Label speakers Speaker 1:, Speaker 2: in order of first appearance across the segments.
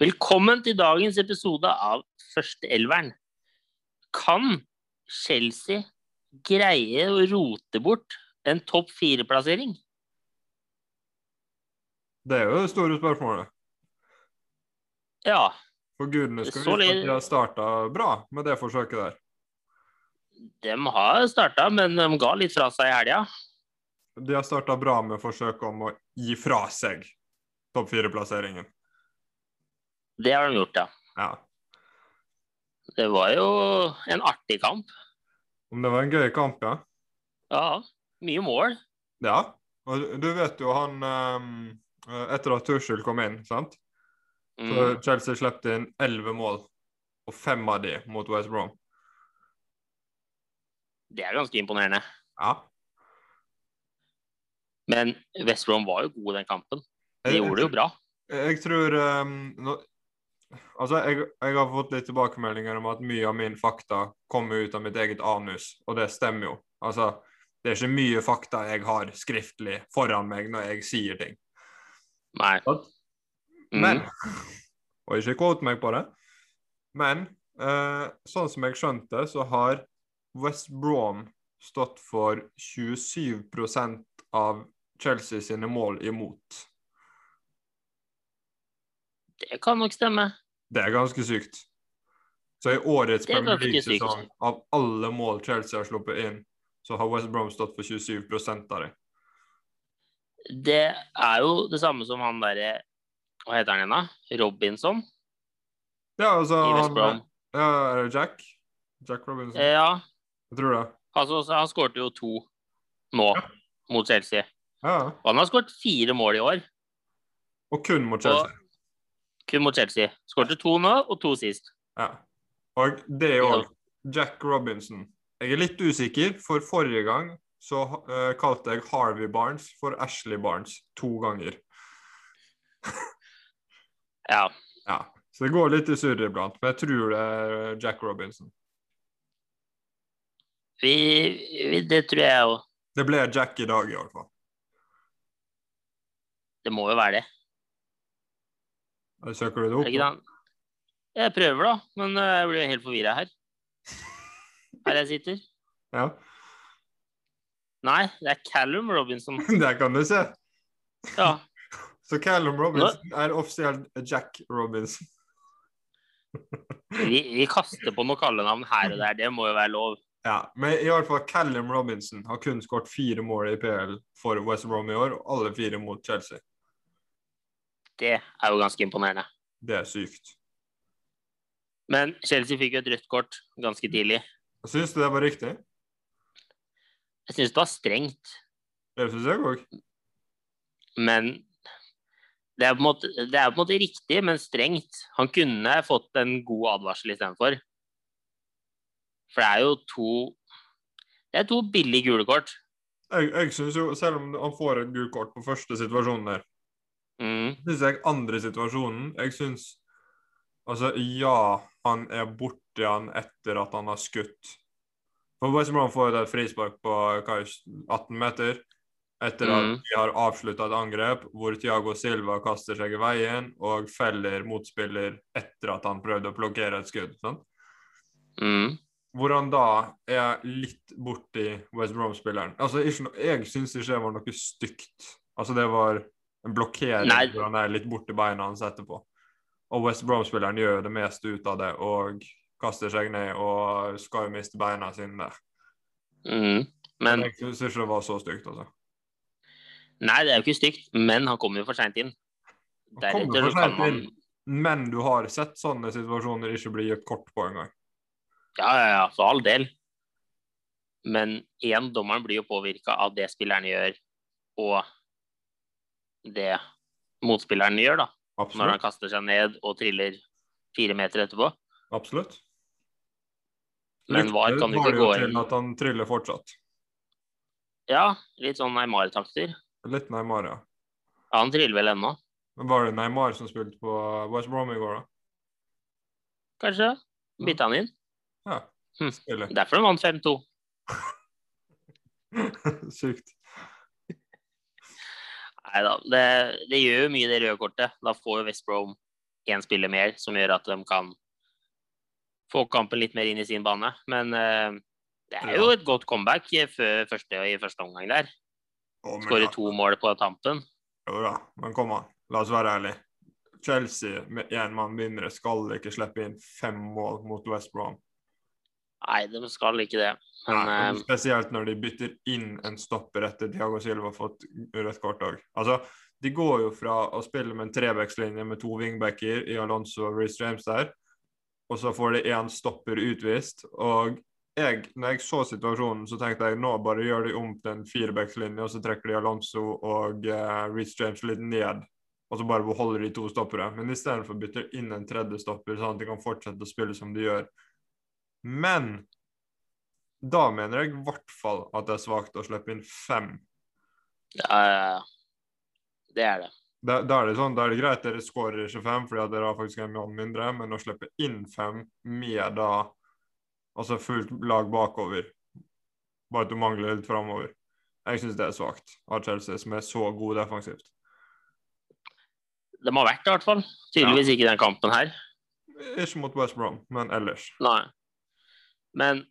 Speaker 1: Velkommen til dagens episode av Førsteelveren. Kan Chelsea greie å rote bort en topp fire-plassering?
Speaker 2: Det er jo det store spørsmålet.
Speaker 1: Ja,
Speaker 2: For gudene skal
Speaker 1: Så
Speaker 2: vite at
Speaker 1: litt-
Speaker 2: de har starta bra med det forsøket der.
Speaker 1: de har starta, men de ga litt fra seg i helga.
Speaker 2: De har starta bra med forsøket om å gi fra seg topp fire-plasseringen.
Speaker 1: Det har de gjort, ja.
Speaker 2: Ja.
Speaker 1: Det var jo en artig kamp.
Speaker 2: Om det var en gøy kamp, ja.
Speaker 1: Ja, mye mål.
Speaker 2: Ja. Og du- du vet jo han ehm, Etter at Tuschel kom inn, sant? så
Speaker 1: Mm.
Speaker 2: Chelsea slapp inn elleve mål, og fem av de mot West Brom.
Speaker 1: Det er ganske imponerende.
Speaker 2: Ja.
Speaker 1: Men West Brom var jo god i den kampen.
Speaker 2: Eh,
Speaker 1: De gjorde det jo bra.
Speaker 2: Jeg tror ehm, nå- Altså, jeg, jeg har fått litt tilbakemeldinger om at mye av min fakta kommer ut av mitt eget anus, og det stemmer jo. Altså, det er ikke mye fakta jeg har skriftlig foran meg når jeg sier ting.
Speaker 1: Nei. Mm.
Speaker 2: Men Og ikke quote meg på det. Men eh, sånn som jeg skjønte, så har West Brom stått for 27 av Chelsea sine mål imot.
Speaker 1: Det kan nok stemme.
Speaker 2: Det er ganske sykt. Så i årets
Speaker 1: Det er
Speaker 2: Premier
Speaker 1: ganske
Speaker 2: League-sesong,
Speaker 1: sykt.
Speaker 2: av alle mål Chelsea har sluppet inn, så har West Brom stått for 27 av det.
Speaker 1: Det er jo det samme som han derre Hva heter han igjen, da? Robinson
Speaker 2: Ja, altså
Speaker 1: i West
Speaker 2: han-
Speaker 1: Brom.
Speaker 2: Ja, er det Jack? Jack Robinson?
Speaker 1: Eh, Ja,
Speaker 2: Jeg tror det.
Speaker 1: altså, så han skårte jo to nå mot Chelsea.
Speaker 2: Ja.
Speaker 1: Og han har skåret fire mål i år,
Speaker 2: Og kun mot Chelsea.
Speaker 1: kun mot Chelsea. Skårte to nå og to sist.
Speaker 2: Ja. Og det er
Speaker 1: Ja.
Speaker 2: òg Jack Robinson. Jeg er litt usikker, for forrige gang så eh, kalte jeg Harvey Barnes for Ashley Barnes to ganger.
Speaker 1: Ja.
Speaker 2: Ja. Så det går litt i surr iblant, men jeg tror det er Jack Robinson.
Speaker 1: Vi, vi, det tror jeg jo.
Speaker 2: Det ble Jack i dag, i hvert fall.
Speaker 1: Det må jo være det.
Speaker 2: Søker du det
Speaker 1: Er
Speaker 2: opp?
Speaker 1: det ikke det?
Speaker 2: nå?
Speaker 1: han- Jeg prøver, da, men eh, jeg blir jo helt forvirra her. Her jeg sitter.
Speaker 2: Ja.
Speaker 1: Nei, det er Callum Robinson.
Speaker 2: Der kan du se.
Speaker 1: Ja.
Speaker 2: Så Callum Robinson er offisielt Jack Robinson.
Speaker 1: Vi, vi kaster på noen kallenavn her og der, det må jo være lov.
Speaker 2: Ja, men i hvert fall Callum Robinson har kun skåret fire mål i PL for West Brom i år, og alle fire mot Chelsea.
Speaker 1: Det er jo ganske imponerende.
Speaker 2: Det er sykt.
Speaker 1: Men Chelsea fikk jo et rødt kort ganske tidlig.
Speaker 2: Syns du det var riktig?
Speaker 1: Jeg syns det var strengt,
Speaker 2: Det syns jeg òg.
Speaker 1: men det er, på en måte, det er på en måte riktig, men strengt. Han kunne fått en god advarsel istedenfor. For det er jo to Det er to billige gule kort.
Speaker 2: Jeg, jeg synes jo, selv om han får et gult kort på første situasjonen der,
Speaker 1: Mm.
Speaker 2: syns jeg andre situasjonen Jeg syns Altså, ja, han er borti han etter at han har skutt. For West Brom får jo da et frispark på hva er det, 18 meter etter at
Speaker 1: Mm.
Speaker 2: de har avslutta et angrep hvor Thiago Silva kaster seg i veien og feller motspiller etter at han prøvde å blokkere et skudd. Sant?
Speaker 1: Mm.
Speaker 2: hvor han da er litt borti West Brom-spilleren. Altså, ikke no jeg syns ikke det var noe stygt. Altså, det var en blokkering
Speaker 1: Nei.
Speaker 2: hvor han er litt borti beina hans etterpå. Og West Brom-spilleren gjør jo det meste ut av det og kaster seg ned og skal jo miste beina sine der.
Speaker 1: Mm. Men
Speaker 2: jeg syns ikke det var så stygt, altså.
Speaker 1: Nei, det er jo ikke stygt, men han kommer jo for seint inn.
Speaker 2: Han kommer
Speaker 1: Deretter
Speaker 2: for
Speaker 1: så kan
Speaker 2: sent
Speaker 1: man
Speaker 2: inn. Men du har sett sånne situasjoner ikke bli gitt kort på engang.
Speaker 1: Ja, ja, ja, for all del. Men igjen, dommeren blir jo påvirka av det spilleren gjør, og det motspilleren gjør, da. Når han
Speaker 2: Absolutt.
Speaker 1: kaster seg ned og triller fire meter etterpå.
Speaker 2: Absolutt.
Speaker 1: Men VAR kan jo
Speaker 2: Var
Speaker 1: ikke
Speaker 2: det
Speaker 1: gå
Speaker 2: til
Speaker 1: inn
Speaker 2: At han triller fortsatt.
Speaker 1: Ja, litt sånn Neymar-takter.
Speaker 2: Litt nærmere, ja.
Speaker 1: Ja, han triller vel ennå,
Speaker 2: Men Var det Neymar som spilte på West Brom i går, da?
Speaker 1: kanskje? Bytta han inn.
Speaker 2: Spiller.
Speaker 1: Derfor de vant 5-2.
Speaker 2: Sykt.
Speaker 1: Nei da, det, det gjør jo mye, det røde kortet. Da får jo West Brom én spiller mer, som gjør at de kan få kampen litt mer inn i sin bane. Men eh, det er jo
Speaker 2: Ja.
Speaker 1: et godt comeback før første, i første omgang der.
Speaker 2: Å, men
Speaker 1: Skårer
Speaker 2: ja,
Speaker 1: to mål på tampen.
Speaker 2: Jo da, men kom an. La oss være ærlige. Chelsea med én mann mindre skal ikke slippe inn fem mål mot West Brom.
Speaker 1: Nei, de skal ikke det. Men
Speaker 2: Nei,
Speaker 1: eh,
Speaker 2: og spesielt når de bytter inn en stopper etter Diago Silva har fått rødt kort òg. Altså, de går jo fra å spille med en trebackslinje med to wingbacker i Alonso og Reece James der, og så får de én stopper utvist. Og jeg, når jeg så situasjonen, så tenkte jeg nå bare gjør de om til en firebackslinje, og så trekker de Alonso og uh, Reece James litt ned. Og så bare beholder de to stoppere. Men istedenfor bytter inn en tredje stopper, sånn at de kan fortsette å spille som de gjør. Men da mener jeg i hvert fall at det er svakt å slippe inn fem.
Speaker 1: ja, det er det.
Speaker 2: Da, da er det sånn, da er det greit dere skårer ikke fem, fordi at dere har faktisk en mann mindre, men å slippe inn fem med da altså fullt lag bakover, bare at du mangler litt framover. Jeg syns det er svakt av Chelsea, som er så god defensivt.
Speaker 1: De har vært det, i hvert fall. Tydeligvis ikke den kampen her.
Speaker 2: Ikke mot West Brom, men ellers.
Speaker 1: Nei. Men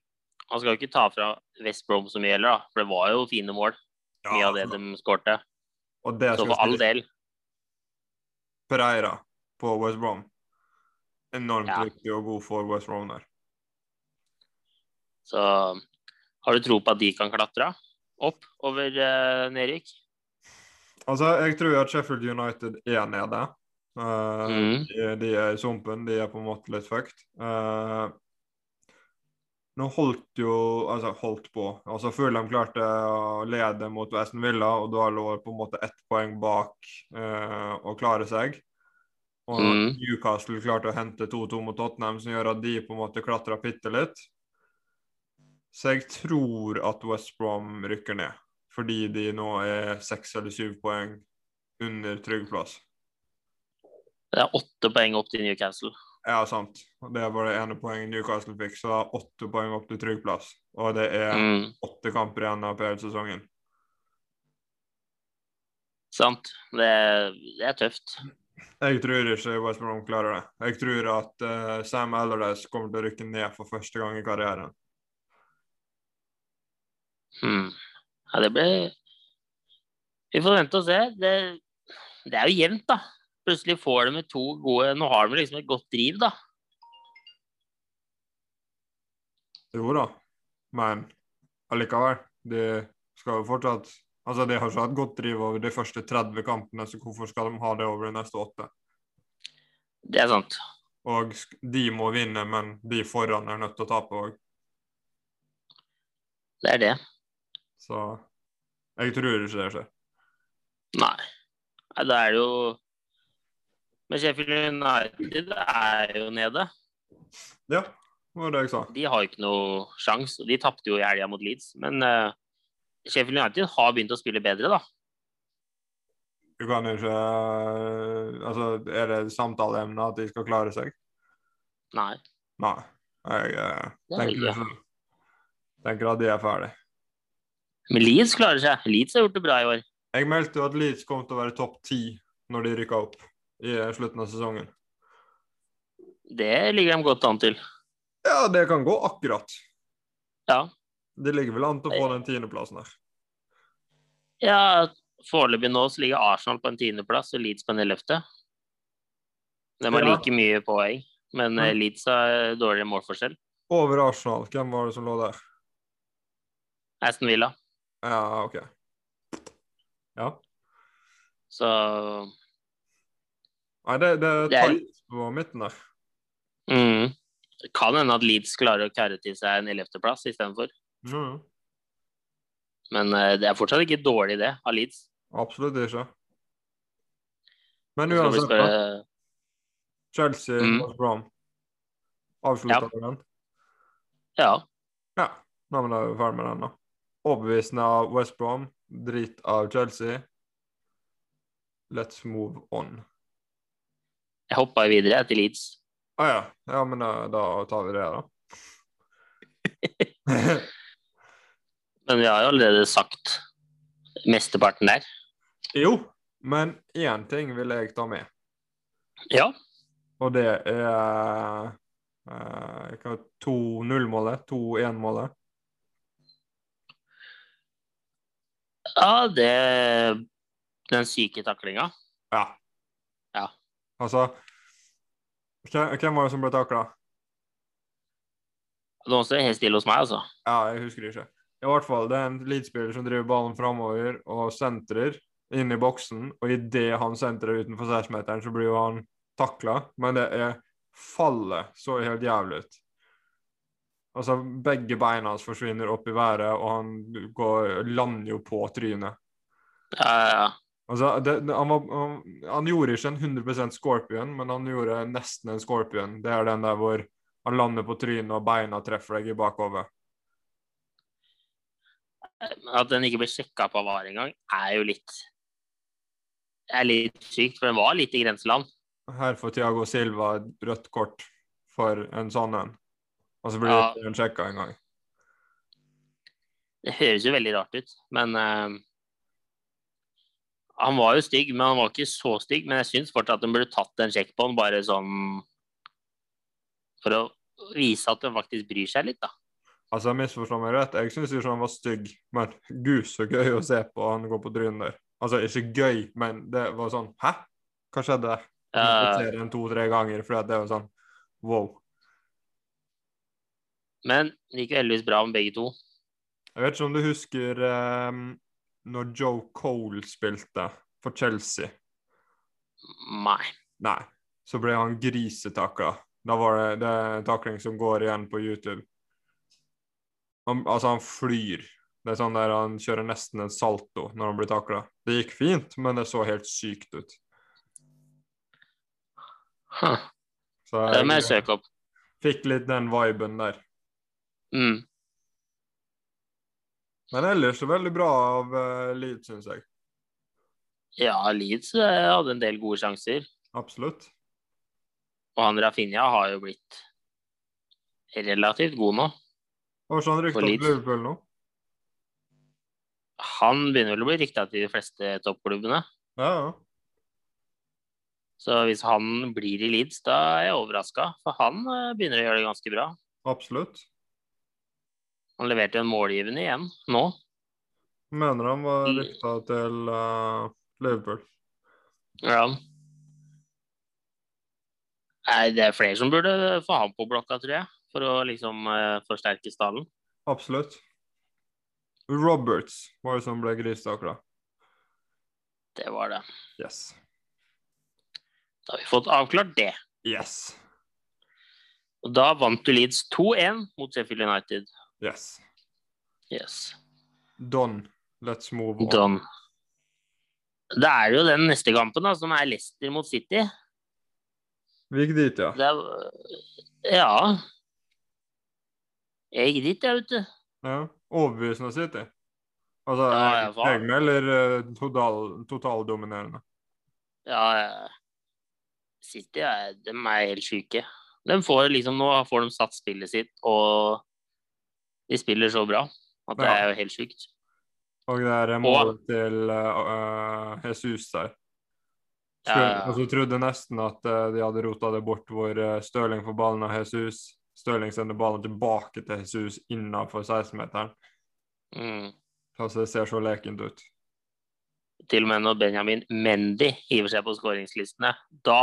Speaker 1: man skal jo ikke ta fra West Brom så mye heller, da. For det var jo fine mål, mye av det de skårte.
Speaker 2: og det
Speaker 1: Så
Speaker 2: altså, skal
Speaker 1: for all
Speaker 2: sies,
Speaker 1: del,
Speaker 2: Pereira på West Brom. Enormt
Speaker 1: Ja.
Speaker 2: viktig og god for West Brom der.
Speaker 1: så har du tro på at de kan klatre opp over uh, nedrykk?
Speaker 2: Altså, jeg tror at Sheffield United er nede. Eh,
Speaker 1: Mm.
Speaker 2: de, de er i sumpen, de er på en måte litt fucked. Eh, nå holdt jo Altså, holdt på. Altså, Fulham klarte å lede mot Aston Villa, og da lå på en måte ett poeng bak eh, å klare seg. Og
Speaker 1: Mm.
Speaker 2: Newcastle klarte å hente 2-2 mot Tottenham, som gjør at de på en måte klatra bitte litt. Så jeg tror at West Brom rykker ned, fordi de nå er seks eller syv poeng under trygg plass.
Speaker 1: Det er åtte poeng opp til Newcastle.
Speaker 2: Ja, sant. Og Det var det ene poenget Newcastle fikk, så det er åtte poeng opp til trygg plass. Og det er
Speaker 1: Mm,
Speaker 2: åtte kamper igjen av PL-sesongen.
Speaker 1: sant. Det, det er tøft.
Speaker 2: Jeg tror ikke West Brom klarer det. Jeg tror at eh, Sam Allardyce kommer til å rykke ned for første gang i karrieren.
Speaker 1: Hmm. Ja, det blir Vi får vente og se. Det, det er jo jevnt, da. Plutselig får de med to gode Nå har de liksom et godt driv, da.
Speaker 2: Jo da, men allikevel. De skal jo fortsatt Altså, de har ikke hatt godt driv over de første 30 kampene, så hvorfor skal de ha det over de neste åtte?
Speaker 1: Det er sant.
Speaker 2: Og sk- de må vinne, men de foran er nødt til å tape òg.
Speaker 1: Det er det.
Speaker 2: Så jeg tror ikke det skjer.
Speaker 1: Nei. Nei, da er det jo Men Sheffield United er jo nede.
Speaker 2: Ja, det var det jeg sa.
Speaker 1: De har jo ikke noe sjanse. De tapte jo i helga mot Leeds. Men eh, Sheffield United har begynt å spille bedre, da.
Speaker 2: Du kan jo ikke Altså, er det samtaleemne at de skal klare seg?
Speaker 1: Nei.
Speaker 2: Nei. Jeg eh,
Speaker 1: Det er
Speaker 2: tenker,
Speaker 1: det
Speaker 2: ikke. tenker at de er ferdig.
Speaker 1: Men Leeds klarer seg. Leeds har gjort det bra i år.
Speaker 2: Jeg meldte jo at Leeds kom til å være topp ti når de rykka opp i eh, slutten av sesongen.
Speaker 1: Det ligger de godt an til.
Speaker 2: Ja, det kan gå akkurat.
Speaker 1: Ja.
Speaker 2: Det ligger vel an til å få den tiendeplassen her.
Speaker 1: Ja, foreløpig nå så ligger Arsenal på en tiendeplass og Leeds på en ellevte. De har
Speaker 2: Ja.
Speaker 1: like mye poeng, men eh, Leeds har dårligere målforskjell.
Speaker 2: Over Arsenal, hvem var det som lå der?
Speaker 1: Aston Villa.
Speaker 2: Ja, OK. Ja.
Speaker 1: Så
Speaker 2: Nei, det, det er
Speaker 1: Det er-
Speaker 2: tight på midten der.
Speaker 1: mm, det kan hende at Leeds klarer å karre til seg en ellevteplass istedenfor.
Speaker 2: Mhm.
Speaker 1: Men eh, det er fortsatt ikke dårlig, det, av Leeds.
Speaker 2: Absolutt ikke. Men
Speaker 1: Så skal vi
Speaker 2: uansett, da.
Speaker 1: spørre,
Speaker 2: Chelsea
Speaker 1: Mm.
Speaker 2: West Brom. Avslutta vi den?
Speaker 1: ja,
Speaker 2: Ja. Nei, men da er vi ferdig med den, da. Overbevisende av West Brom, drit av Chelsea. Let's move on.
Speaker 1: jeg hoppa videre til Leeds.
Speaker 2: Å ah, ja. ja, men da, da tar vi det, da.
Speaker 1: Men vi har jo allerede sagt mesteparten der.
Speaker 2: jo, men én ting vil jeg ta med.
Speaker 1: Ja,
Speaker 2: Og det er eh, hva, to nullmålet, to enmålet.
Speaker 1: Ja, det Den syke taklinga.
Speaker 2: Ja.
Speaker 1: Ja.
Speaker 2: Altså Hvem hvem var det som ble takla?
Speaker 1: Det var også helt stille hos meg, altså.
Speaker 2: Ja, jeg husker det ikke. I hvert fall, det er en leadspiller som driver ballen framover og sentrer inn i boksen, og idet han sentrer utenfor 16-meteren, så blir jo han takla, men det er fallet så helt jævlig ut. Altså, begge beina hans forsvinner opp i været, og han går, lander jo på trynet.
Speaker 1: Ja, ja, ja.
Speaker 2: Altså, det, det, han, var, han, han gjorde ikke en 100 scorpion, men han gjorde nesten en scorpion. Det er den der hvor han lander på trynet, og beina treffer deg i bakhodet.
Speaker 1: At den ikke ble sjekka på VAR engang, er jo litt er litt sykt, for den var litt i grenseland.
Speaker 2: Her får Thiago Silva et rødt kort for en sånn en. Og så blir
Speaker 1: Ja.
Speaker 2: det ikke sjekka engang.
Speaker 1: Det høres jo veldig rart ut, men eh, Han var jo stygg, men han var ikke så stygg. Men jeg syns fortsatt at hun burde tatt en sjekk på han, bare sånn For å vise at hun faktisk bryr seg litt, da.
Speaker 2: Altså, misforstå meg rett, jeg syns ikke han var stygg, men gud, så gøy å se på han går på trynet der. Altså, ikke gøy, men det var sånn Hæ? Hva skjedde? Jeg
Speaker 1: Eh,
Speaker 2: ser den to-tre ganger, for det er jo sånn wow.
Speaker 1: men det gikk jo heldigvis bra med begge to.
Speaker 2: Jeg vet ikke om du husker eh, når Joe Cole spilte for Chelsea.
Speaker 1: Nei.
Speaker 2: Nei. Så ble han grisetakla. Da var det, det er en takling som går igjen på YouTube. Han, altså, han flyr. Det er sånn der Han kjører nesten en salto når han blir takla. Det gikk fint, men det så helt sykt ut.
Speaker 1: Huh.
Speaker 2: Så
Speaker 1: Det må jeg
Speaker 2: jeg
Speaker 1: søke opp.
Speaker 2: fikk litt den viben der.
Speaker 1: Mm.
Speaker 2: Men ellers så veldig bra av uh, Leeds, syns jeg.
Speaker 1: Ja, Leeds eh, hadde en del gode sjanser.
Speaker 2: Absolutt.
Speaker 1: Og han Rafinha har jo blitt relativt god nå.
Speaker 2: Og så han sånn rykte
Speaker 1: For
Speaker 2: opp
Speaker 1: Leeds.
Speaker 2: Liverpool nå.
Speaker 1: Han begynner vel å bli rykta til de fleste toppklubbene.
Speaker 2: Ja, ja.
Speaker 1: Så hvis han blir i Leeds, da er jeg overraska. For han eh, begynner å gjøre det ganske bra.
Speaker 2: Absolutt.
Speaker 1: Han leverte jo en målgivende igjen nå.
Speaker 2: Mener han var
Speaker 1: I-
Speaker 2: rykta til eh, Liverpool.
Speaker 1: Ja. Nei, det er flere som burde få han på blokka, tror jeg. For å liksom eh, forsterke stallen.
Speaker 2: Absolutt. Roberts var det som ble gristakla.
Speaker 1: Det var det.
Speaker 2: Yes.
Speaker 1: Da har vi fått avklart det.
Speaker 2: Yes.
Speaker 1: Og da vant du Leeds 2-1 mot Sheffield United.
Speaker 2: Yes.
Speaker 1: Yes.
Speaker 2: Don, let's move on.
Speaker 1: Don. Det er jo den neste kampen, da, som er Leicester mot City.
Speaker 2: Vi gikk dit, ja.
Speaker 1: Det er Ja. Jeg gikk dit, jeg, vet du.
Speaker 2: ja. Overbevisende City. Altså,
Speaker 1: Ja, ja,
Speaker 2: jeg,
Speaker 1: hva?
Speaker 2: jeg med, eller eh, total, totaldominerende?
Speaker 1: Ja, ja. City er, de er helt syke. De får liksom, nå får de satt spillet sitt, og de spiller så bra at det
Speaker 2: Ja.
Speaker 1: er jo helt sykt.
Speaker 2: Og det er målet til eh, eh, Jesus der.
Speaker 1: Ja,
Speaker 2: Skulle,
Speaker 1: ja.
Speaker 2: Og så trodde jeg nesten at eh, de hadde rota det bort hvor eh, Stirling får ballen av Jesus. Stirling sender ballen tilbake til Jesus innenfor 16-meteren.
Speaker 1: Mm.
Speaker 2: Altså, det ser så lekent ut.
Speaker 1: Til og med når Benjamin Mendy hiver seg på skåringslistene, da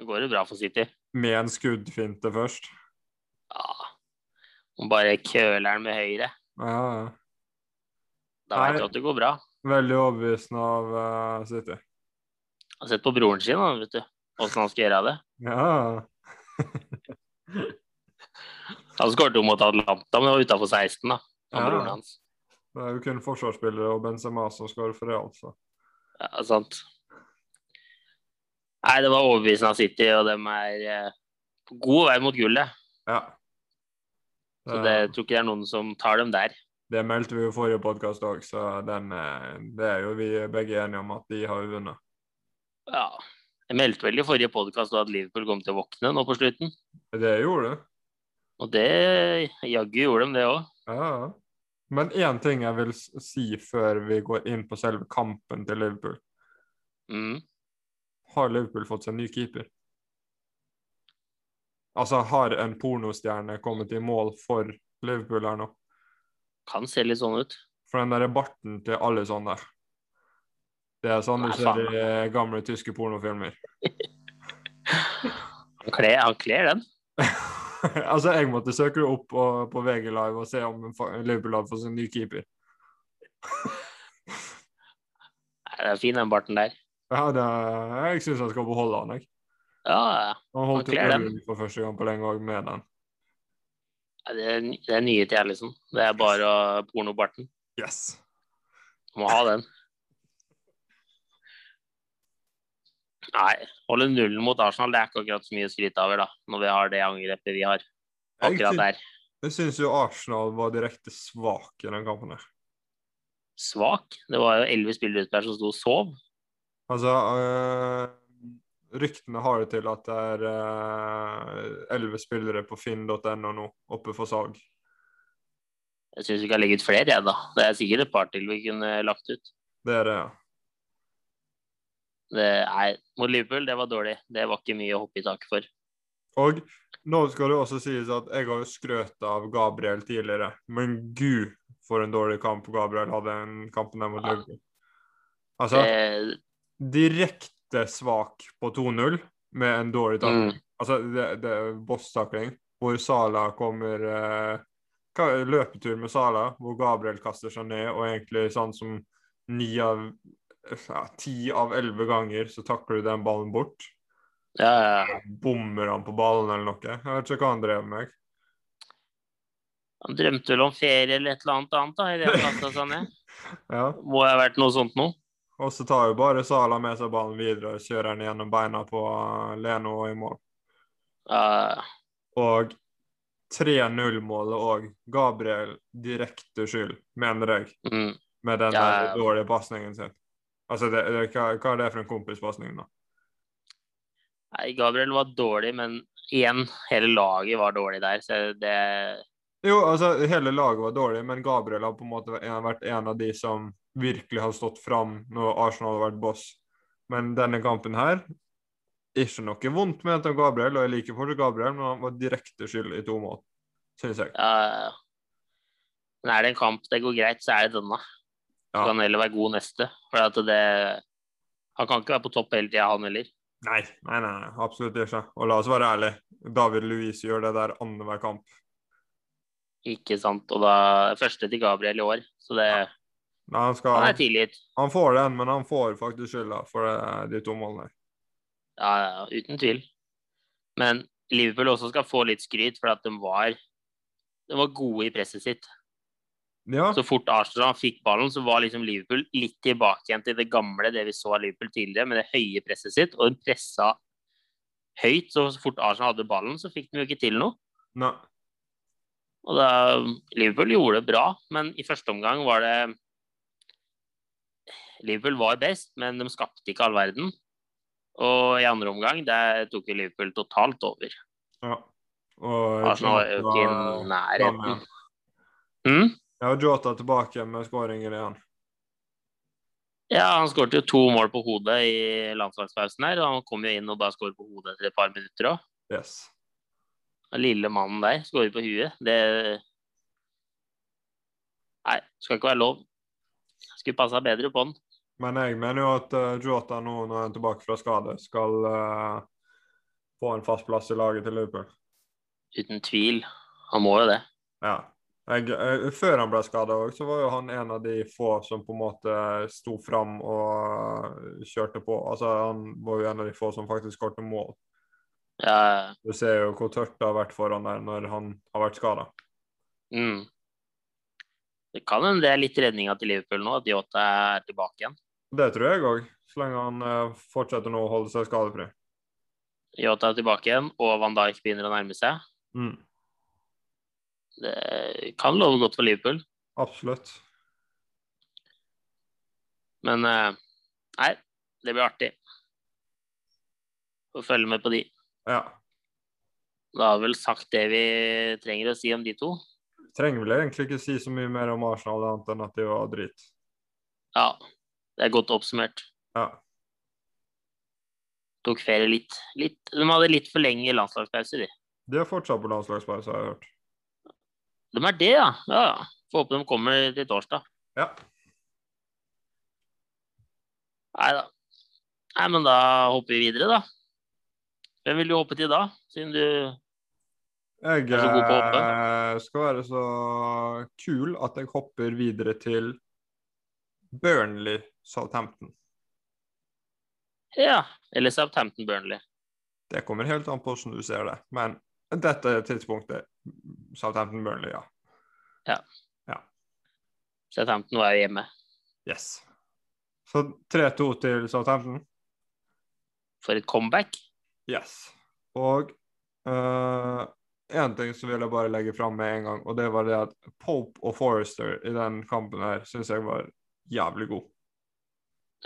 Speaker 1: går det bra for City.
Speaker 2: Med en skuddfinte først.
Speaker 1: Ja. Og bare køler den med høyre.
Speaker 2: Ja, ja.
Speaker 1: Da vet du
Speaker 2: Nei.
Speaker 1: at det går bra.
Speaker 2: Veldig overbevisende av eh, City.
Speaker 1: Han har sett på broren sin, han, vet du. Åssen han skal gjøre det.
Speaker 2: Ja.
Speaker 1: Han skåret jo mot Atlanta, men det var utafor 16, da. Han
Speaker 2: Ja.
Speaker 1: broren hans.
Speaker 2: Det er jo kun forsvarsspillere og Benzema som skårer for det, altså.
Speaker 1: Ja, sant. Nei, det var overbevisende av City, og de er eh, på god vei mot gullet.
Speaker 2: Ja.
Speaker 1: Så
Speaker 2: Det,
Speaker 1: det jeg tror ikke det er noen som tar dem der.
Speaker 2: det meldte vi jo i forrige podkast òg, så den, eh, det er jo vi begge enige om at de har jo vunnet.
Speaker 1: Ja. Jeg meldte vel i forrige podkast at Liverpool kom til å våkne nå på slutten.
Speaker 2: Det gjorde det.
Speaker 1: Og det jaggu gjorde de det òg.
Speaker 2: Ja. ja. Men én ting jeg vil s- si før vi går inn på selve kampen til Liverpool.
Speaker 1: Mm.
Speaker 2: Har Liverpool fått seg ny keeper? Altså, har en pornostjerne kommet i mål for Liverpool her nå?
Speaker 1: Kan se litt sånn ut.
Speaker 2: For den derre barten til alle sånne der. Det er sånn du
Speaker 1: Nei,
Speaker 2: ser
Speaker 1: faen.
Speaker 2: i gamle tyske pornofilmer.
Speaker 1: Han kler, han kler den.
Speaker 2: altså, jeg måtte søke det opp på, på VG Live og se om fa- Liverpool hadde fått seg en ny keeper.
Speaker 1: Nei, Det er fin, den barten der.
Speaker 2: Ja, det, jeg syns jeg skal beholde han, jeg.
Speaker 1: Ja, ja.
Speaker 2: Han holdt
Speaker 1: Han
Speaker 2: jo
Speaker 1: kler den.
Speaker 2: øl for første gang på lenge òg med den.
Speaker 1: det er, det er nye til jeg, liksom. Det er bare å- pornobarten.
Speaker 2: Yes!
Speaker 1: Må ha den. Nei, holde nullen mot Arsenal det er ikke akkurat så mye å skryte over, da. Når vi har det angrepet vi har
Speaker 2: Jeg
Speaker 1: akkurat
Speaker 2: syns-
Speaker 1: der.
Speaker 2: jeg syns jo Arsenal var direkte svak i den kampen her.
Speaker 1: Svak. Det var jo elleve spillere ute der som sto og sov.
Speaker 2: Altså øh, Ryktene har jo til at det er eh, elleve spillere på finn.no nå, oppe for salg.
Speaker 1: Jeg syns vi kan legge ut flere, jeg, da. Det er sikkert et par til vi kunne lagt ut.
Speaker 2: Det er det, ja.
Speaker 1: Det er, mot Liverpool, det var dårlig. Det var ikke mye å hoppe i taket for.
Speaker 2: Og nå skal det også sies at jeg har jo skrøt av Gabriel tidligere, men gud, for en dårlig kamp Gabriel hadde den kampen der mot
Speaker 1: Ja. Eh.
Speaker 2: Liverpool. Altså,
Speaker 1: Det,
Speaker 2: direkte svak på 2-0 med en dårlig takling.
Speaker 1: mm,
Speaker 2: Altså, det, det er boss-takling, hvor Sala kommer eh, ka- Løpetur med Sala, hvor Gabriel kaster seg ned, og egentlig sånn som ni av ja, ti av elleve ganger så takler du den ballen bort.
Speaker 1: ja, ja, ja.
Speaker 2: Bommer han på ballen eller noe? Jeg vet ikke hva han drev med. jeg.
Speaker 1: Han drømte vel om ferie eller et eller annet annet, da. i det han kastet seg ned.
Speaker 2: Ja.
Speaker 1: Må ha vært noe sånt nå.
Speaker 2: Og så tar jo bare Sala med seg ballen videre og kjører den gjennom beina på eh, Leno og i mål.
Speaker 1: Ja,
Speaker 2: Og 3-0-målet òg. Gabriel direkte skyld, mener jeg,
Speaker 1: mm.
Speaker 2: med den
Speaker 1: Ja,
Speaker 2: der
Speaker 1: ja.
Speaker 2: dårlige pasningen sin. Altså, det, det, hva, hva er det for en kompispasning, da?
Speaker 1: Nei, Gabriel var dårlig, men igjen, hele laget var dårlig der. Så det
Speaker 2: Jo, altså, hele laget var dårlig, men Gabriel har på en måte vært- vært en av de som virkelig har stått fram når Arsenal har vært boss. Men denne kampen her Ikke noe vondt ment om Gabriel, og jeg liker fortsatt Gabriel, men han var direkte skyld i to mål, syns jeg.
Speaker 1: ja. Men er det en kamp det går greit, så er det denne. Så
Speaker 2: Ja.
Speaker 1: kan han heller være god neste. For at det Han kan ikke være på topp hele tida, han heller.
Speaker 2: Nei, nei, nei, nei, absolutt ikke. Og la oss være ærlige. David Luiz gjør det der annenhver kamp.
Speaker 1: Ikke sant. Og da Første til Gabriel i år. Så det
Speaker 2: Nei, han, skal,
Speaker 1: Han er
Speaker 2: han,
Speaker 1: tilgitt.
Speaker 2: får den, men han får faktisk skylda for eh, de to målene.
Speaker 1: Ja, ja, uten tvil. Men Liverpool også skal få litt skryt, for at de var de var gode i presset sitt.
Speaker 2: Ja,
Speaker 1: Så fort Arsenal fikk ballen, så var liksom Liverpool litt tilbake igjen til det gamle, det vi så av Liverpool tidligere, med det høye presset sitt. Og de pressa høyt, så så fort Arsenal hadde ballen, så fikk de jo ikke til noe.
Speaker 2: nei.
Speaker 1: Og da, Liverpool gjorde det bra, men i første omgang var det Liverpool var best, men de skapte ikke all verden. Og i andre omgang der tok jo Liverpool totalt over.
Speaker 2: Ja. Og
Speaker 1: Arsenal var jo ikke i
Speaker 2: Jota-
Speaker 1: nærheten.
Speaker 2: igjen.
Speaker 1: Mm?
Speaker 2: ja, Jota tilbake med skåringer igjen.
Speaker 1: Ja, han skåret jo to mål på hodet i landslagspausen her. Og han kom jo inn og bare skåret på hodet etter et par minutter òg.
Speaker 2: Yes.
Speaker 1: Den lille mannen der skårer på huet. Det Nei, skal ikke være lov. Skulle passa bedre på den.
Speaker 2: Men jeg mener jo at eh, Jota nå, når han er tilbake fra skade, skal eh, få en fast plass i laget til Liverpool.
Speaker 1: Uten tvil. Han må jo det.
Speaker 2: Ja. Jeg, eh, før han ble skada òg, så var jo han en av de få som på en måte sto fram og kjørte på. Altså, han var jo en av de få som faktisk skåret mål.
Speaker 1: Ja,
Speaker 2: Du ser jo hvor tørt det har vært for han der når han har vært skada.
Speaker 1: mm. Det kan hende det er litt redninga til Liverpool nå, at Yota er tilbake igjen.
Speaker 2: Det tror jeg òg, så lenge han eh, fortsetter nå å holde seg skadefri.
Speaker 1: Yota er tilbake igjen, og Van Dijk begynner å nærme seg.
Speaker 2: Mm.
Speaker 1: Det kan love godt for Liverpool.
Speaker 2: Absolutt.
Speaker 1: Men eh, nei, det blir artig å følge med på de.
Speaker 2: Ja.
Speaker 1: Da har vi vel sagt det vi trenger å si om de to.
Speaker 2: Trenger vel egentlig ikke si så mye mer om Arsenal annet enn at de var drit.
Speaker 1: Ja, det er godt oppsummert.
Speaker 2: Ja.
Speaker 1: Tok ferie litt. litt de hadde litt for lenge landslagspause, de.
Speaker 2: De er fortsatt på landslagspause, har jeg hørt.
Speaker 1: De er det, ja. ja. ja. Får håpe de kommer til torsdag.
Speaker 2: Ja.
Speaker 1: Nei da. Nei, men da hopper vi videre, da. Hvem vil du hoppe til da, siden du Er
Speaker 2: Jeg
Speaker 1: du god på å hoppe?
Speaker 2: eh, skal være så kul at jeg hopper videre til Burnley Southampton.
Speaker 1: Ja. Eller Southampton Burnley.
Speaker 2: Det kommer helt an på hvordan du ser det, men dette tidspunktet Southampton Burnley, ja.
Speaker 1: Southampton var jo hjemme.
Speaker 2: Yes. Så 3-2 til Southampton.
Speaker 1: For et comeback.
Speaker 2: Yes. Og én ting som vil jeg bare legge fram med en gang, og det var det at Pope og Forrester i den kampen her syns jeg var jævlig god.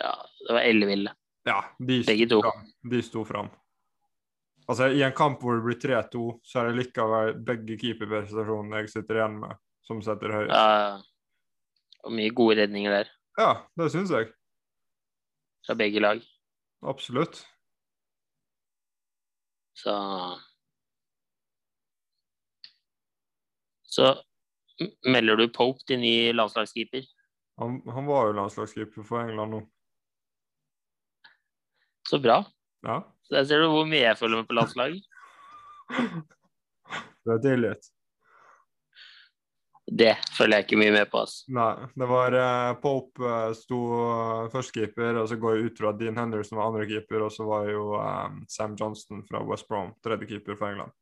Speaker 1: Ja, det var elleville.
Speaker 2: Ja, de sto,
Speaker 1: Begge to.
Speaker 2: fram. de sto fram. Altså, i en kamp hvor det blir 3-2, så er det likevel begge keeperprestasjonene jeg sitter igjen med, som setter høyest. Ja,
Speaker 1: Ja, og mye gode redninger der
Speaker 2: det syns jeg.
Speaker 1: fra begge lag.
Speaker 2: Absolutt.
Speaker 1: Så Så m- melder du Pope til ny landslagskeeper.
Speaker 2: Han, han var jo landslagskeeper for England nå.
Speaker 1: Så bra.
Speaker 2: Ja,
Speaker 1: Så der ser du hvor mye jeg følger med på landslag.
Speaker 2: det er tilgitt.
Speaker 1: Det følger jeg ikke mye med på. ass.
Speaker 2: Nei, det var eh, Pope eh, sto eh, førstekeeper, og så går jeg ut fra at Dean Henderson var andrekeeper, og så var jo eh, Sam Johnston fra West Brom tredjekeeper for England.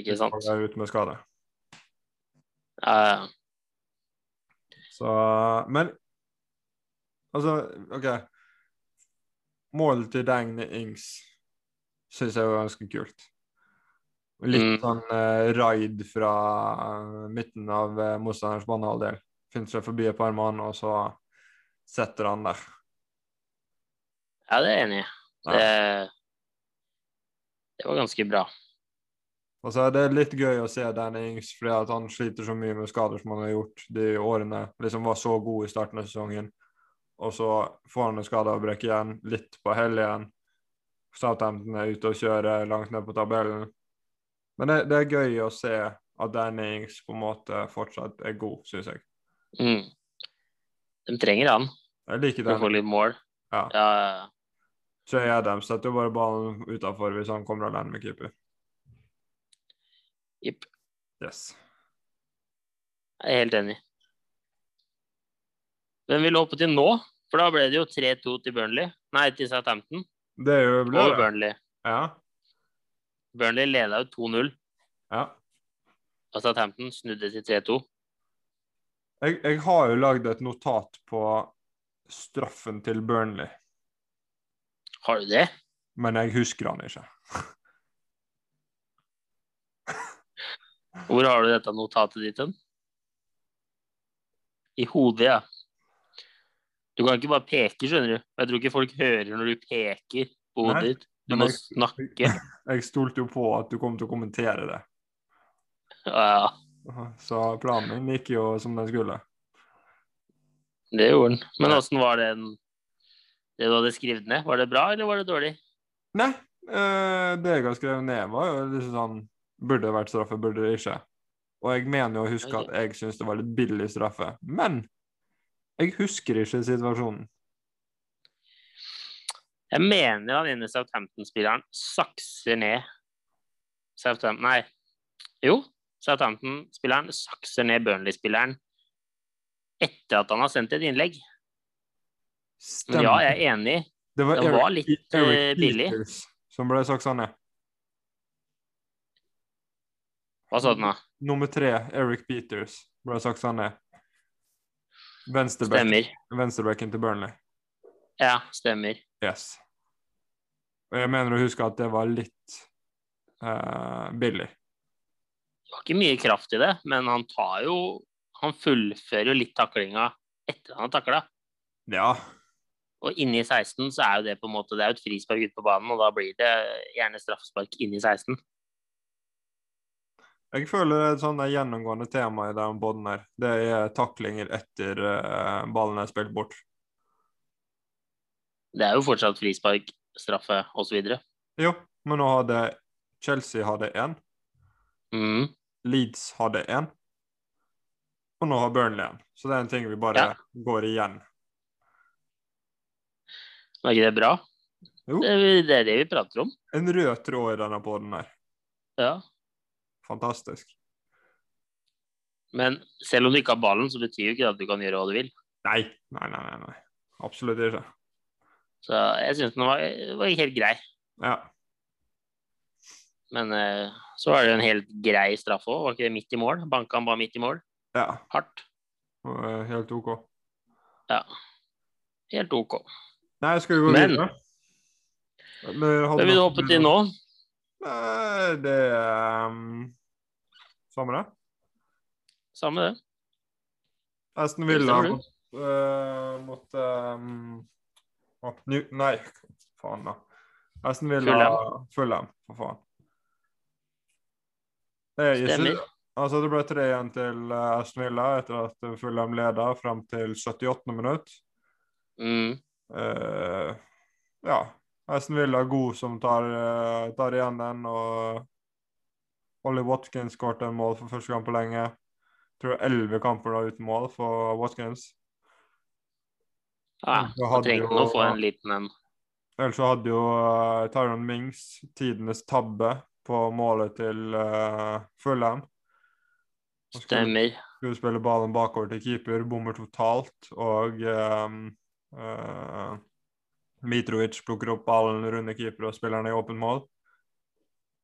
Speaker 1: Ikke sant?
Speaker 2: Og er ute med skade.
Speaker 1: Ja,
Speaker 2: Så, eh, men altså, OK. Målet til Dagny Ings syns jeg var ganske kult. Litt
Speaker 1: Mm.
Speaker 2: sånn eh, raid fra eh, midten av eh, motstanderens banehalvdel. Finner seg forbi et par mann, og så setter han der.
Speaker 1: ja det er jeg enig i.
Speaker 2: Ja.
Speaker 1: Det, det var ganske bra.
Speaker 2: Altså, det er litt gøy å se Danny Ings fordi at han sliter så mye med skader som han har gjort de årene. Liksom var så god i starten av sesongen, og så får han en skadeavbrekk igjen, litt på hell igjen. Southampton er ute og kjører langt ned på tabellen. Men det, det er gøy å se at Danny Ings på en måte fortsatt er god, syns jeg.
Speaker 1: Mm. De trenger han
Speaker 2: Jeg liker
Speaker 1: for å få
Speaker 2: den.
Speaker 1: litt mål.
Speaker 2: Ja.
Speaker 1: Ja,
Speaker 2: Jay Adams setter jo bare ballen utafor hvis han kommer alene med keeper.
Speaker 1: Jipp.
Speaker 2: Yes.
Speaker 1: jeg er helt enig. Hvem vil hoppe til nå? For da ble det jo 3-2 til Burnley. Nei, til Southampton
Speaker 2: Det er jo
Speaker 1: og
Speaker 2: bra.
Speaker 1: Burnley.
Speaker 2: Ja.
Speaker 1: Burnley leda jo 2-0,
Speaker 2: ja.
Speaker 1: og Southampton snudde til 3-2.
Speaker 2: Jeg, jeg har jo lagd et notat på straffen til Burnley,
Speaker 1: Har du det?
Speaker 2: men jeg husker han ikke.
Speaker 1: Hvor har du dette notatet ditt hen? I hodet, ja. Du kan ikke bare peke, skjønner du. Jeg tror ikke folk hører når du peker på hodet
Speaker 2: Nei,
Speaker 1: ditt. Du
Speaker 2: men
Speaker 1: må
Speaker 2: jeg-
Speaker 1: snakke.
Speaker 2: Jeg stolte jo på at du kom til å kommentere det,
Speaker 1: Ja,
Speaker 2: så planen min gikk jo som den skulle.
Speaker 1: det gjorde den. Men åssen var den det du hadde skrevet ned? Var det bra, eller var det dårlig?
Speaker 2: Nei, eh, det jeg har skrevet ned, var jo liksom sånn Burde det vært straffe, burde det ikke? Og jeg mener jo å huske at jeg syns det var litt billig straffe, men jeg husker ikke situasjonen.
Speaker 1: Jeg mener han ene Southampton-spilleren sakser ned Southampton Nei. Jo, Southampton-spilleren sakser ned Burnley-spilleren etter at han har sendt et innlegg. Men ja, jeg er enig.
Speaker 2: det var
Speaker 1: den var litt, eh, billig.
Speaker 2: Peters som ble sånn, saksa ned.
Speaker 1: Hva sa du nå?
Speaker 2: Nummer tre, Eric Peters, ble saksa ned. Venstreback-
Speaker 1: Stemmer.
Speaker 2: Venstrebacken til Burnley.
Speaker 1: Ja, stemmer.
Speaker 2: Yes. Og jeg mener å huske at det var litt eh, billig.
Speaker 1: Det var ikke mye kraft i det, men han tar jo Han fullfører jo litt taklinga etter han har takla.
Speaker 2: Ja.
Speaker 1: Og inne i 16 så er jo det på en måte Det er jo et frispark ute på banen, og da blir det gjerne straffespark inne i 16.
Speaker 2: Jeg føler det er et sånt der gjennomgående tema i den båten her. Det er taklinger etter eh, ballen er spilt bort.
Speaker 1: Det er jo fortsatt frispark, straffe osv.
Speaker 2: Jo, men nå har det Chelsea hadde én,
Speaker 1: Mm.
Speaker 2: Leeds hadde én, og nå har Burnley én. Så det er en ting vi bare
Speaker 1: Ja.
Speaker 2: går igjen.
Speaker 1: Var ikke det bra?
Speaker 2: Jo.
Speaker 1: Det er det, er det vi prater om.
Speaker 2: En rød tråd i denne poden her.
Speaker 1: Ja.
Speaker 2: Fantastisk.
Speaker 1: Men selv om du ikke har ballen, så betyr jo ikke det at du kan gjøre hva du vil.
Speaker 2: Nei, nei, nei. nei, nei. Absolutt ikke.
Speaker 1: Så jeg syns den var, var helt grei.
Speaker 2: Ja.
Speaker 1: Men eh, så var det jo en helt grei straffe òg, var ikke det midt i mål? Banka han bare midt i mål?
Speaker 2: ja.
Speaker 1: Hardt.
Speaker 2: Eh, Helt OK.
Speaker 1: Helt OK.
Speaker 2: Nei, skal vi gå
Speaker 1: Men-
Speaker 2: videre? Eh, Men
Speaker 1: Hva vil du hoppe til nå?
Speaker 2: Nei, Eh, det er um, Samme det.
Speaker 1: Samme det.
Speaker 2: Aston
Speaker 1: Det
Speaker 2: Villa
Speaker 1: stemmer,
Speaker 2: mot, eh, mot ehm, å, New, Nei, faen, da. Aston Villa
Speaker 1: Fulham.
Speaker 2: Fulham, for faen. Det er ikke,
Speaker 1: Stemmer.
Speaker 2: altså, det ble 3-1 til eh, Aston Villa etter at Fulham leda fram til 78. minutt.
Speaker 1: Mm.
Speaker 2: Eh, ja. Aston Villa er god som tar, eh, tar igjen den, og Ollie Watkins skåret en mål for første gang på lenge. Tror det er elleve kamper da uten mål for Watkins.
Speaker 1: Ja,
Speaker 2: Da
Speaker 1: da
Speaker 2: hadde
Speaker 1: trengte
Speaker 2: jo-
Speaker 1: han å få en liten en.
Speaker 2: Ellers så hadde jo uh, Tyron Mings tidenes tabbe på målet til eh, Fulham. Han Skulle,
Speaker 1: Stemmer.
Speaker 2: skulle spille ballen bakover til keeper, bommer totalt, og eh, eh, Mitrovic plukker opp ballen runde keeper og spiller den i åpent mål.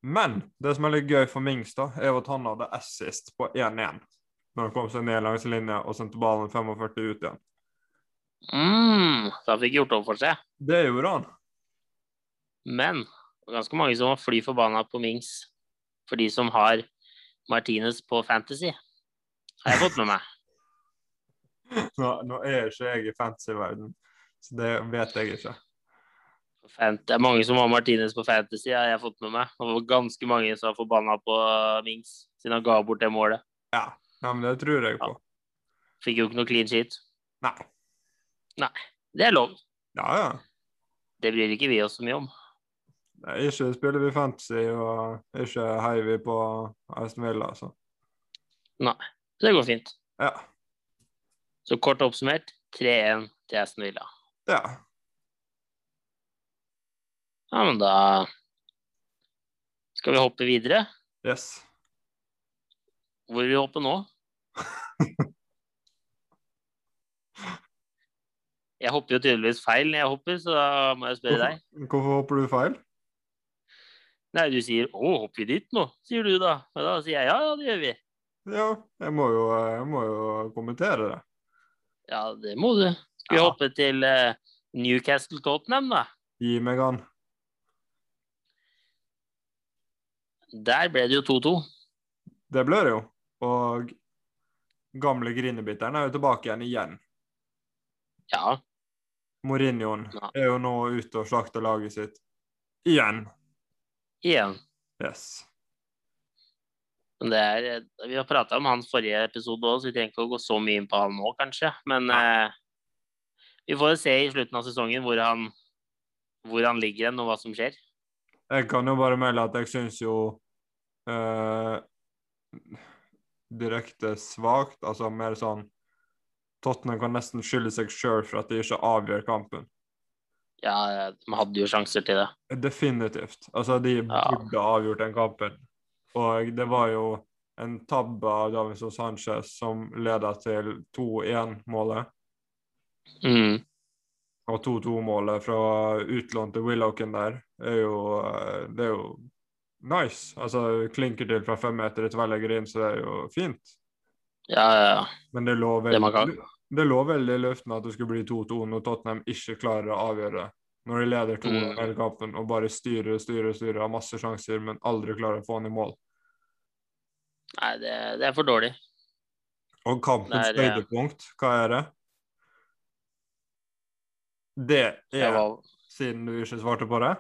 Speaker 2: Men det som er litt gøy for Mings, da, er jo at han hadde assist på 1-1 når han kom seg ned langs linja og sendte ballen 45 ut igjen.
Speaker 1: Mm. Så han fikk gjort opp for seg.
Speaker 2: Det gjorde han.
Speaker 1: Men det var ganske mange som var fly forbanna på Mings for de som har Martinez på Fantasy. Har jeg fått med meg.
Speaker 2: Nå, nå er ikke jeg i fantasy-verden, så det vet jeg ikke.
Speaker 1: Fant- Det er mange som har Martinez på Fantasy, har jeg fått med meg. Og det var ganske mange som var forbanna på Mings siden han ga bort det målet.
Speaker 2: Nei, men det tror jeg på.
Speaker 1: Fikk jo ikke noe clean sheet.
Speaker 2: Nei.
Speaker 1: Det er lov.
Speaker 2: Ja, ja.
Speaker 1: Det bryr ikke vi oss så mye om.
Speaker 2: Nei, ikke spiller vi fantasy, og ikke heier vi på Aston Villa, altså.
Speaker 1: Så det går fint.
Speaker 2: Ja.
Speaker 1: Så kort oppsummert 3-1 til Aston Villa.
Speaker 2: ja.
Speaker 1: Ja, men da skal vi hoppe videre.
Speaker 2: Yes.
Speaker 1: Hvor vil vi hoppe nå? Jeg hopper jo tydeligvis feil når jeg hopper, så da må jeg spørre deg.
Speaker 2: Hvorfor hopper du feil?
Speaker 1: Nei, du sier 'Å, hopper vi dit nå?' sier du da. Og da sier jeg 'Ja, ja, det gjør vi'.
Speaker 2: Ja, jeg må jo, jeg må jo kommentere det.
Speaker 1: Ja, det må du. Skal vi
Speaker 2: Ja.
Speaker 1: hoppe til eh, Newcastle Tottenham, da?
Speaker 2: Gi meg han.
Speaker 1: Der ble det jo 2-2.
Speaker 2: Det ble det jo. Og gamle grinebiteren er jo tilbake igjen igjen.
Speaker 1: Ja,
Speaker 2: Mourinhoen
Speaker 1: Ja.
Speaker 2: er jo nå ute og slakter laget sitt. Igjen.
Speaker 1: igjen.
Speaker 2: Yes.
Speaker 1: Men det er, eh, vi har prata om han forrige episode òg, så vi trenger ikke å gå så mye inn på han nå, kanskje. Men eh, vi får se i slutten av sesongen hvor han, hvor han ligger hen, og hva som skjer.
Speaker 2: Jeg kan jo bare melde at jeg syns jo eh, direkte svakt, altså mer sånn Tottenham kan nesten skylde seg sjøl for at de ikke avgjør kampen.
Speaker 1: Ja, eh, de hadde jo sjanser til det.
Speaker 2: Definitivt. Altså, de burde avgjort den kampen. Og det var jo en tabbe av Davinson Sanchez som leda til 2-1-målet.
Speaker 1: Mm.
Speaker 2: Og 2-2-målet fra utlån til Willochen der er jo, eh, det er jo nice. Altså, klinker til fra fem meter i tverrlegger inn, så det er jo fint.
Speaker 1: Ja, ja, ja.
Speaker 2: Men det lå
Speaker 1: Det man
Speaker 2: veldig,
Speaker 1: kan-
Speaker 2: det lå veldig i luften at det skulle bli 2-2 når Tottenham ikke klarer å avgjøre. Når de leder 2
Speaker 1: Mm.
Speaker 2: hele kampen og bare styrer styrer, styrer, har masse sjanser, men aldri klarer å få den i mål.
Speaker 1: Nei, det, det er for dårlig.
Speaker 2: Og kampens
Speaker 1: Det er, eh,
Speaker 2: høydepunkt, hva er det? Det
Speaker 1: Det
Speaker 2: er
Speaker 1: var,
Speaker 2: siden du ikke svarte på det,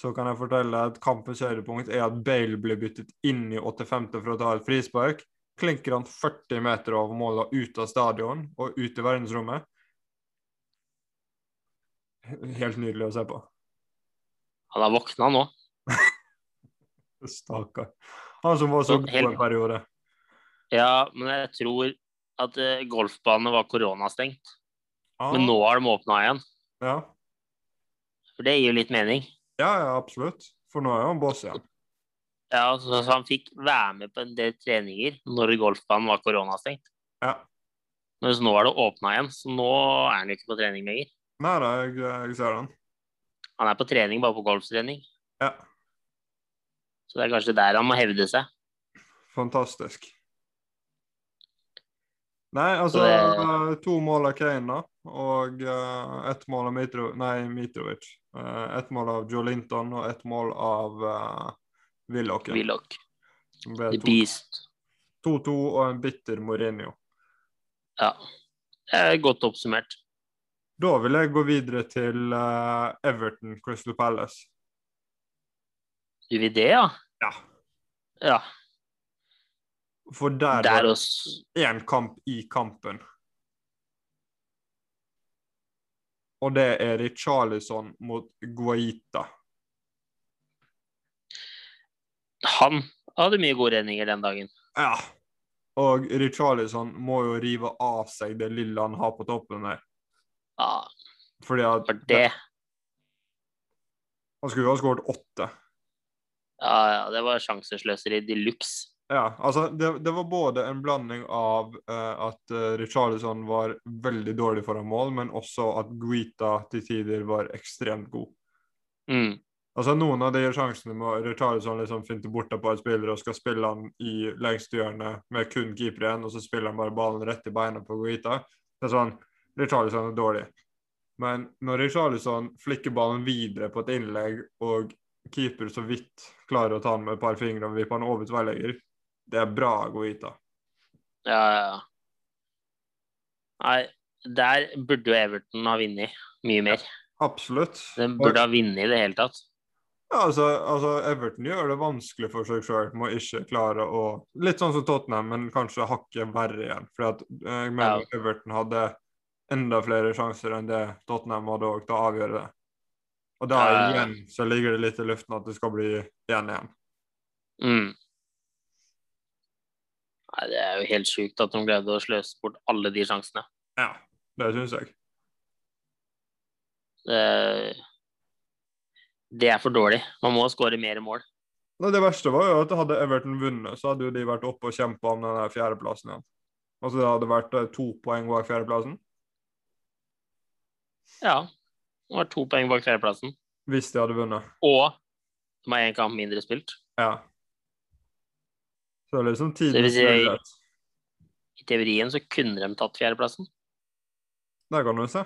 Speaker 2: så kan jeg fortelle at kampens høydepunkt er at Bale blir byttet inn i 85. for å ta et frispark. Klinker han 40 meter over målet ut av stadion og ut i verdensrommet. Helt nydelig å se på.
Speaker 1: han har våkna nå.
Speaker 2: Stakkar. Han som var så
Speaker 1: Og
Speaker 2: god
Speaker 1: helt-
Speaker 2: en periode.
Speaker 1: Ja, men jeg tror at eh, golfbanene var koronastengt.
Speaker 2: Ah,
Speaker 1: Men nå har de åpna igjen.
Speaker 2: ja.
Speaker 1: For det gir jo litt mening.
Speaker 2: ja, ja, absolutt. For nå er han boss igjen.
Speaker 1: Ja, så, så han fikk være med på en del treninger når golfbanen var koronastengt.
Speaker 2: Ja.
Speaker 1: Mens nå er det åpna igjen, så nå er han jo ikke på trening lenger.
Speaker 2: Nei da, jeg, jeg ser den.
Speaker 1: Han er på trening, bare på golftrening.
Speaker 2: Ja,
Speaker 1: Så det er kanskje der han må hevde seg.
Speaker 2: fantastisk. Nei, altså
Speaker 1: Så
Speaker 2: To mål av Kane, da. Og eh, ett mål av Mitro... Nei, Mitrovic. Eh, ett mål av Joe Linton og ett mål av uh, Willoch.
Speaker 1: Willoch.
Speaker 2: Det ble
Speaker 1: The
Speaker 2: 2-2
Speaker 1: Beast.
Speaker 2: og en bitter Mourinho.
Speaker 1: Ja. Det er godt oppsummert.
Speaker 2: Da vil jeg gå videre til eh, Everton Crystal Palace.
Speaker 1: Gjør vi det, ja?
Speaker 2: Ja.
Speaker 1: Ja.
Speaker 2: For der,
Speaker 1: Der
Speaker 2: var
Speaker 1: også.
Speaker 2: det én kamp i kampen. Og det er Richarlison mot Guaita.
Speaker 1: Han hadde mye gode redninger den dagen.
Speaker 2: Ja. Og Richarlison må jo rive av seg det lille han har på toppen der.
Speaker 1: Ja,
Speaker 2: Fordi at
Speaker 1: for det
Speaker 2: han skulle jo ha skåret åtte.
Speaker 1: Ja, ja, det var sjansesløseri de luxe.
Speaker 2: Ja, altså det, det var både en blanding av eh, at eh, Richarlison var veldig dårlig foran mål, men også at Guita til tider var ekstremt god.
Speaker 1: Mm.
Speaker 2: Altså Noen av de sjansene med Richarlison liksom finter borta på en spiller og skal spille han i lengste hjørnet med kun keeper igjen, og så spiller han bare ballen rett i beina på Guita. Det er sånn Richarlison er dårlig. Men når Richarlison flikker ballen videre på et innlegg, og keeper så vidt klarer å ta han med et par fingre og vippe han over tverrlegger, det er bra Guita.
Speaker 1: Ja, ja, ja. Nei, der burde jo Everton ha vunnet mye mer.
Speaker 2: Absolutt.
Speaker 1: De
Speaker 2: Og-
Speaker 1: burde ha vunnet i det hele tatt.
Speaker 2: Ja, altså, altså, Everton gjør det vanskelig for seg sjøl med å ikke klare å Litt sånn som Tottenham, men kanskje hakket verre igjen. Fordi at eh, jeg mener
Speaker 1: Ja.
Speaker 2: Everton hadde enda flere sjanser enn det Tottenham hadde òg til å avgjøre det. Og da
Speaker 1: Ja, ja, ja.
Speaker 2: igjen så ligger det litt i luften at det skal bli 1-1.
Speaker 1: Mm. Nei, det er jo helt sjukt at de greide å sløse bort alle de sjansene.
Speaker 2: Ja, det syns jeg.
Speaker 1: Det, det er for dårlig. Man må skåre mer mål.
Speaker 2: Nei, det verste var jo at hadde Everton vunnet, så hadde jo de vært oppe og kjempa om den der fjerdeplassen igjen. Altså det hadde vært eh, to poeng bak fjerdeplassen.
Speaker 1: Ja. Det var to poeng bak fjerdeplassen.
Speaker 2: Hvis de hadde vunnet.
Speaker 1: Og de har én kamp mindre spilt.
Speaker 2: Ja. Så det er liksom
Speaker 1: Det vil
Speaker 2: tidens
Speaker 1: si-
Speaker 2: mulighet.
Speaker 1: I teorien så kunne de tatt fjerdeplassen,
Speaker 2: Det kan du se.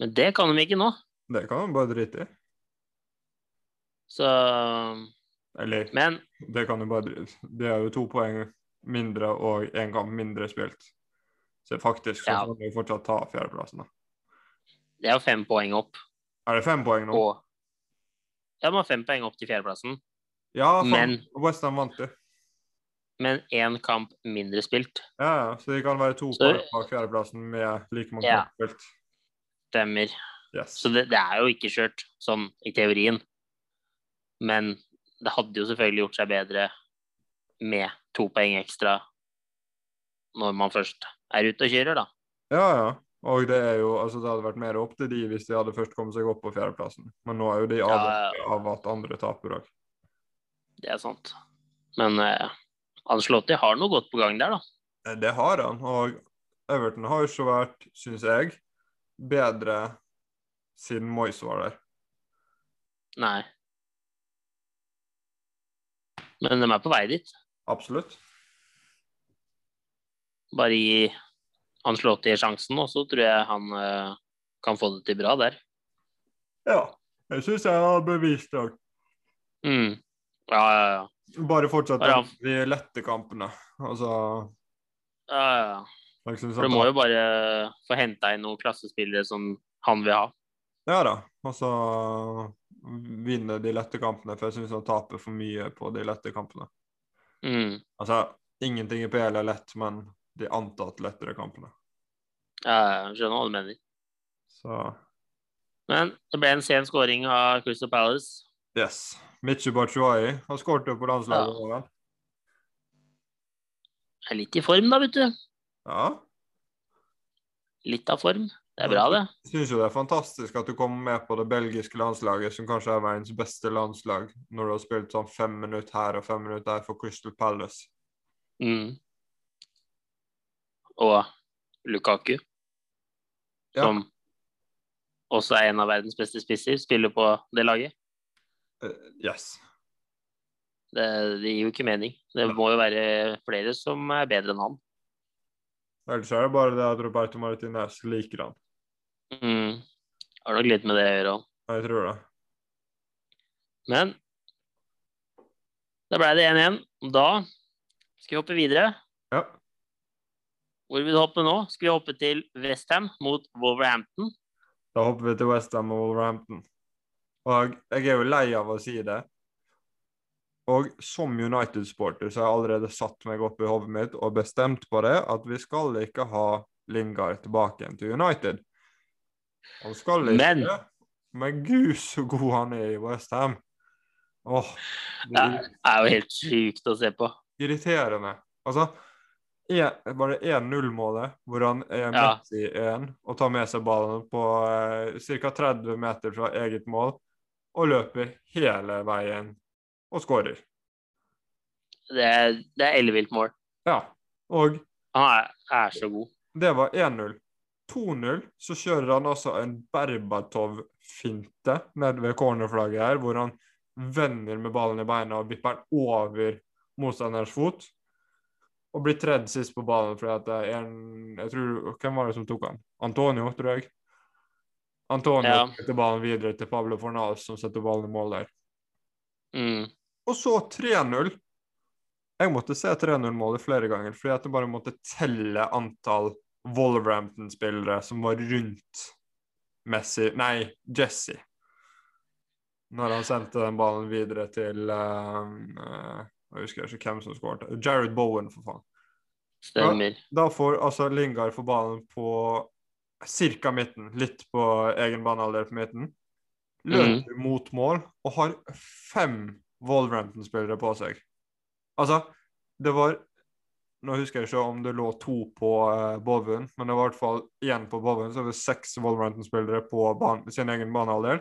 Speaker 1: men det kan de ikke nå.
Speaker 2: Det kan man bare drite i.
Speaker 1: Så
Speaker 2: Eller
Speaker 1: Men
Speaker 2: det kan du bare drite Det er jo to poeng mindre og én kamp mindre spilt. Så faktisk så
Speaker 1: Ja.
Speaker 2: kan du fortsatt ta fjerdeplassen. da.
Speaker 1: det er jo fem poeng opp.
Speaker 2: Er det fem poeng nå?
Speaker 1: Og ja, de har fem poeng opp til fjerdeplassen,
Speaker 2: Ja, faen.
Speaker 1: men-
Speaker 2: Westham vant det.
Speaker 1: men én kamp mindre spilt.
Speaker 2: Ja, ja. Så det kan være to
Speaker 1: Så-
Speaker 2: poeng bak fjerdeplassen med like mange
Speaker 1: Ja.
Speaker 2: kamper spilt.
Speaker 1: Stemmer.
Speaker 2: Yes.
Speaker 1: Så det, det er jo ikke skjørt, sånn i teorien. Men det hadde jo selvfølgelig gjort seg bedre med to poeng ekstra når man først er ute og kjører, da.
Speaker 2: Ja, ja. Og det er jo Altså, det hadde vært mer opp til de hvis de hadde først kommet seg opp på fjerdeplassen. Men nå er jo de
Speaker 1: Ja,
Speaker 2: avhengig av at andre taper òg.
Speaker 1: Det er sant. Men eh, Ancelotti har noe godt på gang der, da.
Speaker 2: Eh, Det har han, og Everton har jo ikke vært, syns jeg, bedre siden Moyes var der.
Speaker 1: Nei. Men de er på vei dit.
Speaker 2: Absolutt.
Speaker 1: Bare gi Ancelotti sjansen, og så tror jeg han eh, kan få det til bra der.
Speaker 2: Ja. Jeg syns jeg har bevist det.
Speaker 1: Mm. Ja, ja, ja.
Speaker 2: Bare fortsett
Speaker 1: Ja, ja.
Speaker 2: med de lette kampene. Altså
Speaker 1: ja, ja, ja.
Speaker 2: jeg synes
Speaker 1: For
Speaker 2: han
Speaker 1: du må jo bare få henta inn noen klassespillere som han vil ha.
Speaker 2: Ja da. Altså vinne de lette kampene, for jeg syns han taper for mye på de lette kampene.
Speaker 1: Mm.
Speaker 2: Altså, ingenting i PL er lett, men de antatt lettere kampene.
Speaker 1: Ja, jeg skjønner hva du mener.
Speaker 2: Så
Speaker 1: Men det ble en sen scoring av Crystal Palace.
Speaker 2: yes. Mitchu Batshuayi. Han skåret jo på landslaget.
Speaker 1: Ja.
Speaker 2: nå, vel?
Speaker 1: Er litt i form, da, vet du.
Speaker 2: Ja.
Speaker 1: Litt av form. Det er bra, det.
Speaker 2: Syns jo det er fantastisk at du kommer med på det belgiske landslaget, som kanskje er verdens beste landslag, når du har spilt sånn fem minutter her og fem minutter der for Crystal Palace.
Speaker 1: Mm. Og Lukaku,
Speaker 2: Ja.
Speaker 1: som også er en av verdens beste spisser, spiller på det laget.
Speaker 2: Eh, yes.
Speaker 1: Det, det gir jo ikke mening. Det må jo være flere som er bedre enn han.
Speaker 2: Ellers er det bare det at Roberto Martinez liker han.
Speaker 1: Mm. Har nok litt med det å gjøre òg.
Speaker 2: Jeg tror det.
Speaker 1: Men da ble det 1-1. Da skal vi hoppe videre.
Speaker 2: Ja.
Speaker 1: Hvor vil du hoppe nå? Skal vi hoppe til Westham mot Wolverhampton?
Speaker 2: Da hopper vi til Westham og Wolverhampton. Og jeg er jo lei av å si det. Og som United-sporter så har jeg allerede satt meg opp i hodet mitt og bestemt på det at vi skal ikke ha Lingard tilbake igjen til United. Han skal ikke
Speaker 1: Men-
Speaker 2: Men gud, så god han er i Westham! Åh, det
Speaker 1: Ja. Det er jo helt sjukt å se på.
Speaker 2: irriterende. Altså, en, bare 1-0-målet, hvor han
Speaker 1: Ja.
Speaker 2: er midt i én og tar med seg ballen på eh, ca. 30 meter fra eget mål, og løper hele veien og skårer.
Speaker 1: Det er, det er ellevilt mål.
Speaker 2: Ja. Og
Speaker 1: Han er, er så god.
Speaker 2: det var 1-0. 2-0, så kjører han altså en Berbatov-finte nede ved cornerflagget her, hvor han vender med ballen i beina og vipper den over motstanders fot. Og blir tredd sist på ballen fordi at det er en jeg tror, Hvem var det som tok han? Antonio, tror jeg. Antonio
Speaker 1: Ja.
Speaker 2: setter ballen videre til Pablo Fornals, som setter ballen i mål der.
Speaker 1: Mm.
Speaker 2: Og så 3-0. Jeg måtte se 3-0-målet flere ganger, fordi at jeg bare måtte telle antall Wolverhampton-spillere som var rundt Messi Nei, Jesse. Når han sendte den ballen videre til eh, eh, Jeg husker ikke hvem som skåret. Jared Bowen, for faen.
Speaker 1: Stemmer.
Speaker 2: Da får altså Lingard få ballen på cirka midten, litt på egen banehalvdel på midten. Løper mot mål og har fem Wolverhampton-spillere på seg. Altså, det var Nå husker jeg ikke om det lå to på eh, Bowen, men det var i hvert fall én på Bowen, så det var seks Wolverhampton-spillere på ban sin egen banehalvdel.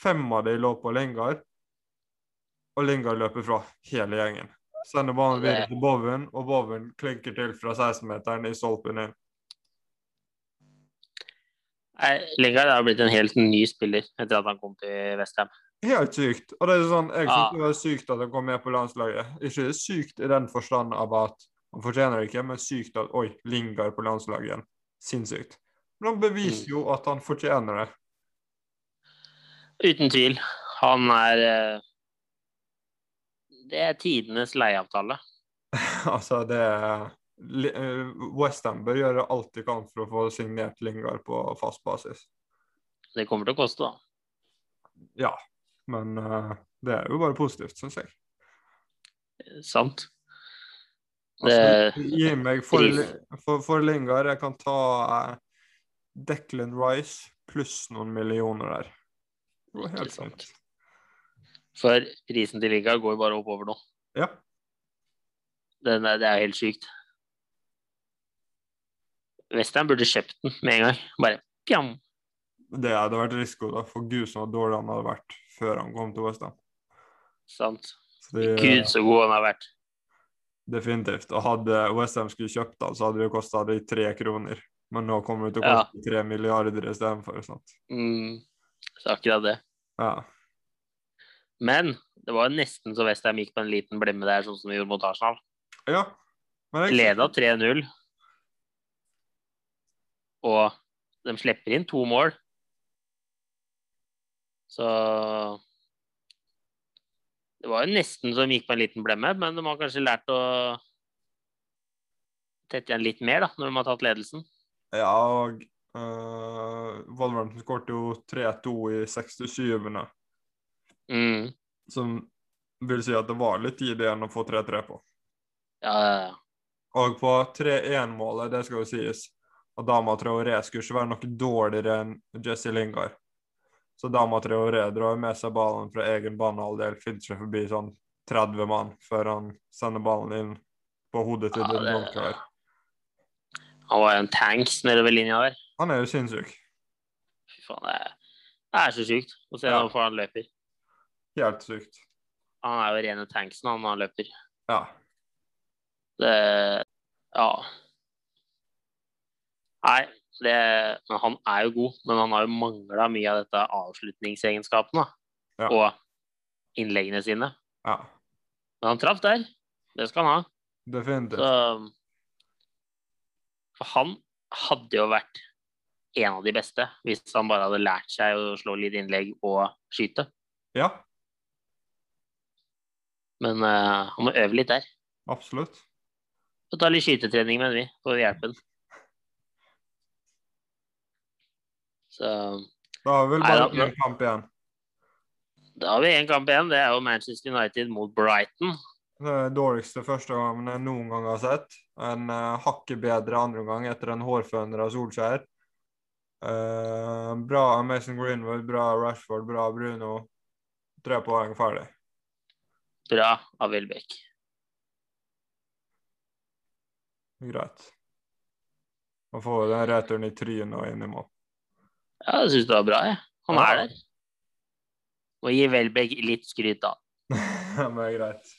Speaker 2: Fem av de lå på Lingard, og Lingard løper fra hele gjengen. Sender ballen videre til Bowen, og Bowen klinker til fra 16-meteren i stolpen inn.
Speaker 1: Nei, Lingard har blitt en helt ny spiller etter at han kom til Westham.
Speaker 2: Helt sykt. Og det er sånn, jeg
Speaker 1: Ja.
Speaker 2: syns det var sykt at han kom med på landslaget. Ikke sykt i den forstand av at han fortjener det ikke, men sykt at oi, Lingard på landslaget igjen. Sinnssykt. Men han beviser jo at han fortjener det.
Speaker 1: Uten tvil. Han er eh, Det er tidenes leieavtale.
Speaker 2: altså, det er Li- eh, West Ham bør gjøre alt de kan for å få signert Lingard på fast basis.
Speaker 1: Det kommer til å koste, da.
Speaker 2: Men eh, det er jo bare positivt, syns jeg.
Speaker 1: Sant. Det-
Speaker 2: Altså, gi meg for, for, for Lingard. Jeg kan ta eh, Declan Rice pluss noen millioner der. Det går helt
Speaker 1: Ikke sant.
Speaker 2: sant.
Speaker 1: For prisen til Lingard går jo bare oppover nå.
Speaker 2: Ja.
Speaker 1: Den er, det er helt sykt. Westham burde kjøpt den med en gang. Bare pjam.
Speaker 2: Det hadde vært risiko, da. For gud, så dårlig han hadde vært før han kom til Westham.
Speaker 1: Sant.
Speaker 2: Så det
Speaker 1: Gud, så god han har vært.
Speaker 2: definitivt. Og hadde Westham skulle kjøpt han, så hadde det jo kosta de tre kroner. Men nå kommer det til å
Speaker 1: Ja.
Speaker 2: koste tre milliarder istedenfor. sant?
Speaker 1: Mm, så akkurat det.
Speaker 2: Ja.
Speaker 1: Men det var jo nesten så Westham gikk på en liten blemme der, sånn som vi gjorde mot Arsenal.
Speaker 2: ja. Men jeg,
Speaker 1: Leda 3-0. Og de slipper inn to mål. Så Det var jo nesten så de gikk på en liten blemme, men de har kanskje lært å tette igjen litt mer da, når de har tatt ledelsen.
Speaker 2: Ja, og uh, Wolverhampton skåret jo 3-2 i 67.
Speaker 1: Mm.
Speaker 2: Som vil si at det var litt tid igjen å få 3-3 på.
Speaker 1: Ja, ja, ja.
Speaker 2: Og på 3-1-målet, det skal jo sies, at Dama Traoré skulle ikke være noe dårligere enn Jesse Lingard. Så da måtte Traoré dra med seg ballen fra egen banehalvdel, filtre forbi sånn 30 mann før han sender ballen inn på hodet til
Speaker 1: Ja,
Speaker 2: Dylan
Speaker 1: det-
Speaker 2: Monker.
Speaker 1: Han var jo en tanks nede ved linja der.
Speaker 2: Han er jo sinnssyk.
Speaker 1: Fy faen, det er, det er så sjukt å se
Speaker 2: Ja.
Speaker 1: hvorfor han løper.
Speaker 2: Helt sykt.
Speaker 1: Han er jo rene tanksen han når han løper.
Speaker 2: Ja.
Speaker 1: Det, ja. Nei, det, men han er jo god, men han har jo mangla mye av dette avslutningsegenskapene.
Speaker 2: Ja.
Speaker 1: da. Og innleggene sine.
Speaker 2: ja.
Speaker 1: Men han traff der. Det skal han ha.
Speaker 2: Definitivt.
Speaker 1: Så, for han hadde jo vært en av de beste hvis han bare hadde lært seg å slå litt innlegg og skyte.
Speaker 2: Ja,
Speaker 1: Men eh, han må øve litt der.
Speaker 2: absolutt.
Speaker 1: Få ta litt skytetrening, mener vi, for å hjelpe han. Så
Speaker 2: Da har vi vel
Speaker 1: Nei,
Speaker 2: bare
Speaker 1: da-
Speaker 2: én kamp igjen.
Speaker 1: da har vi én kamp igjen. Det er jo Manchester United mot Brighton.
Speaker 2: Det er dårligste første gangen jeg noen gang har sett. En uh, hakket bedre andre gang etter en hårføner av Solskjær. Eh, bra Mason Greenwood, bra Rashford, bra Bruno. Tre poeng ferdig.
Speaker 1: Bra av Welbeck.
Speaker 2: Greit. Og får den returen i trynet og inn i mål.
Speaker 1: Ja, jeg syns det var bra, jeg. Han
Speaker 2: Ja.
Speaker 1: er der. Må gi Welbeck litt skryt, da.
Speaker 2: Men det er greit.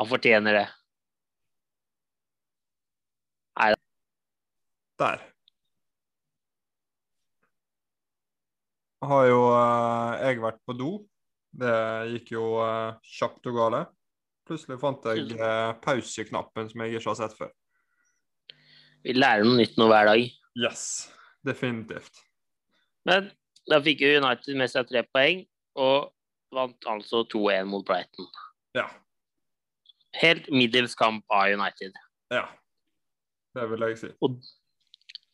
Speaker 1: Han fortjener det.
Speaker 2: Der. Har jo eh, jeg vært på do. Det gikk jo eh, kjapt og gale. Plutselig fant jeg eh, pauseknappen som jeg ikke har sett før.
Speaker 1: Vi lærer noe nytt nå hver dag.
Speaker 2: Yes. Definitivt.
Speaker 1: Men da fikk jo United med seg tre poeng, og vant altså 2-1 mot Brighton.
Speaker 2: Ja.
Speaker 1: Helt middels kamp av United.
Speaker 2: Ja. Det vil jeg si.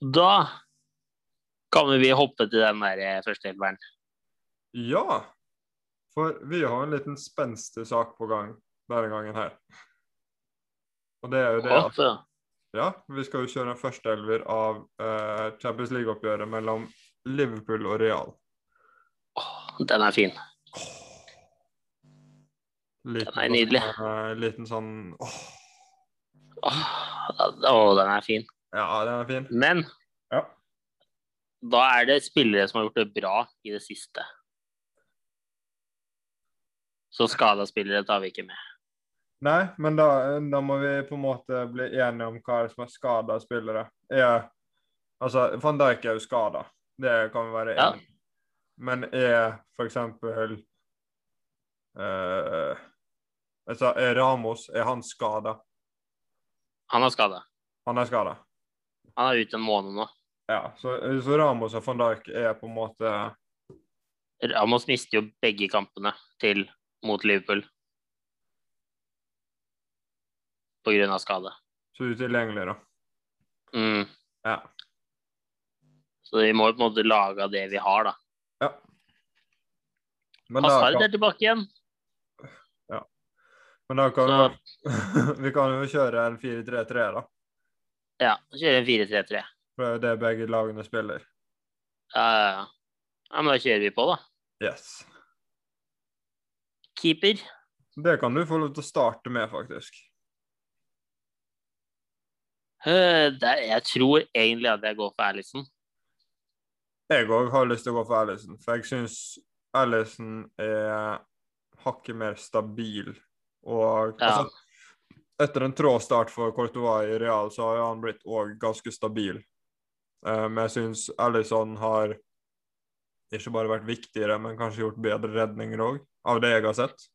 Speaker 1: Da kan vi hoppe til den der eh, første elveren.
Speaker 2: Ja. For vi har en liten spenstig sak på gang denne gangen her. Og det er jo det at
Speaker 1: Hopp, ja.
Speaker 2: Ja, vi skal jo kjøre en førsteelver av eh, Champions League-oppgjøret mellom Liverpool og Real.
Speaker 1: Åh, Den er fin.
Speaker 2: Liten,
Speaker 1: Den er nydelig.
Speaker 2: Sånn, eh, liten sånn åh,
Speaker 1: Åh, da- åh, den er fin.
Speaker 2: Ja, den er fin.
Speaker 1: Men
Speaker 2: Ja.
Speaker 1: da er det spillere som har gjort det bra i det siste. Så skada spillere tar vi ikke med.
Speaker 2: Nei, men da, eh, da må vi på en måte bli enige om hva som er skada spillere. Er, altså, Van Dijk er jo skada, det kan vi være
Speaker 1: Ja.
Speaker 2: enige om. Men er for eksempel eh, altså, Er Ramos er han skada?
Speaker 1: Han er skada.
Speaker 2: Han er skada.
Speaker 1: Han er ute en måned nå.
Speaker 2: Ja, så, så Ramos og van Dijk er på en måte
Speaker 1: Ramos mister jo begge kampene til mot Liverpool. På grunn av skade.
Speaker 2: så utilgjengelige, da.
Speaker 1: Mm.
Speaker 2: Ja.
Speaker 1: Så vi må jo på en måte lage av det vi har, da.
Speaker 2: Men da
Speaker 1: Hazard
Speaker 2: kan,
Speaker 1: er tilbake igjen.
Speaker 2: men da kan
Speaker 1: Så
Speaker 2: vi kan jo kjøre en 4-3-3, da.
Speaker 1: ja, kjøre en 4-3-3.
Speaker 2: For det er jo det begge lagene spiller.
Speaker 1: Ja, ja, ja. ja, men da kjører vi på, da.
Speaker 2: Yes.
Speaker 1: Keeper.
Speaker 2: Det kan du få lov til å starte med, faktisk.
Speaker 1: Eh, Der, jeg tror egentlig at jeg går for Erlison.
Speaker 2: Jeg òg har lyst til å gå for Ellison, for jeg syns Ellison er hakket mer stabil. Og
Speaker 1: Ja.
Speaker 2: altså, etter en trå start for Courtois i Real, så har jo han blitt òg ganske stabil. Eh, Men jeg syns Ellison har ikke bare vært viktigere, men kanskje gjort bedre redninger òg, av det jeg har sett.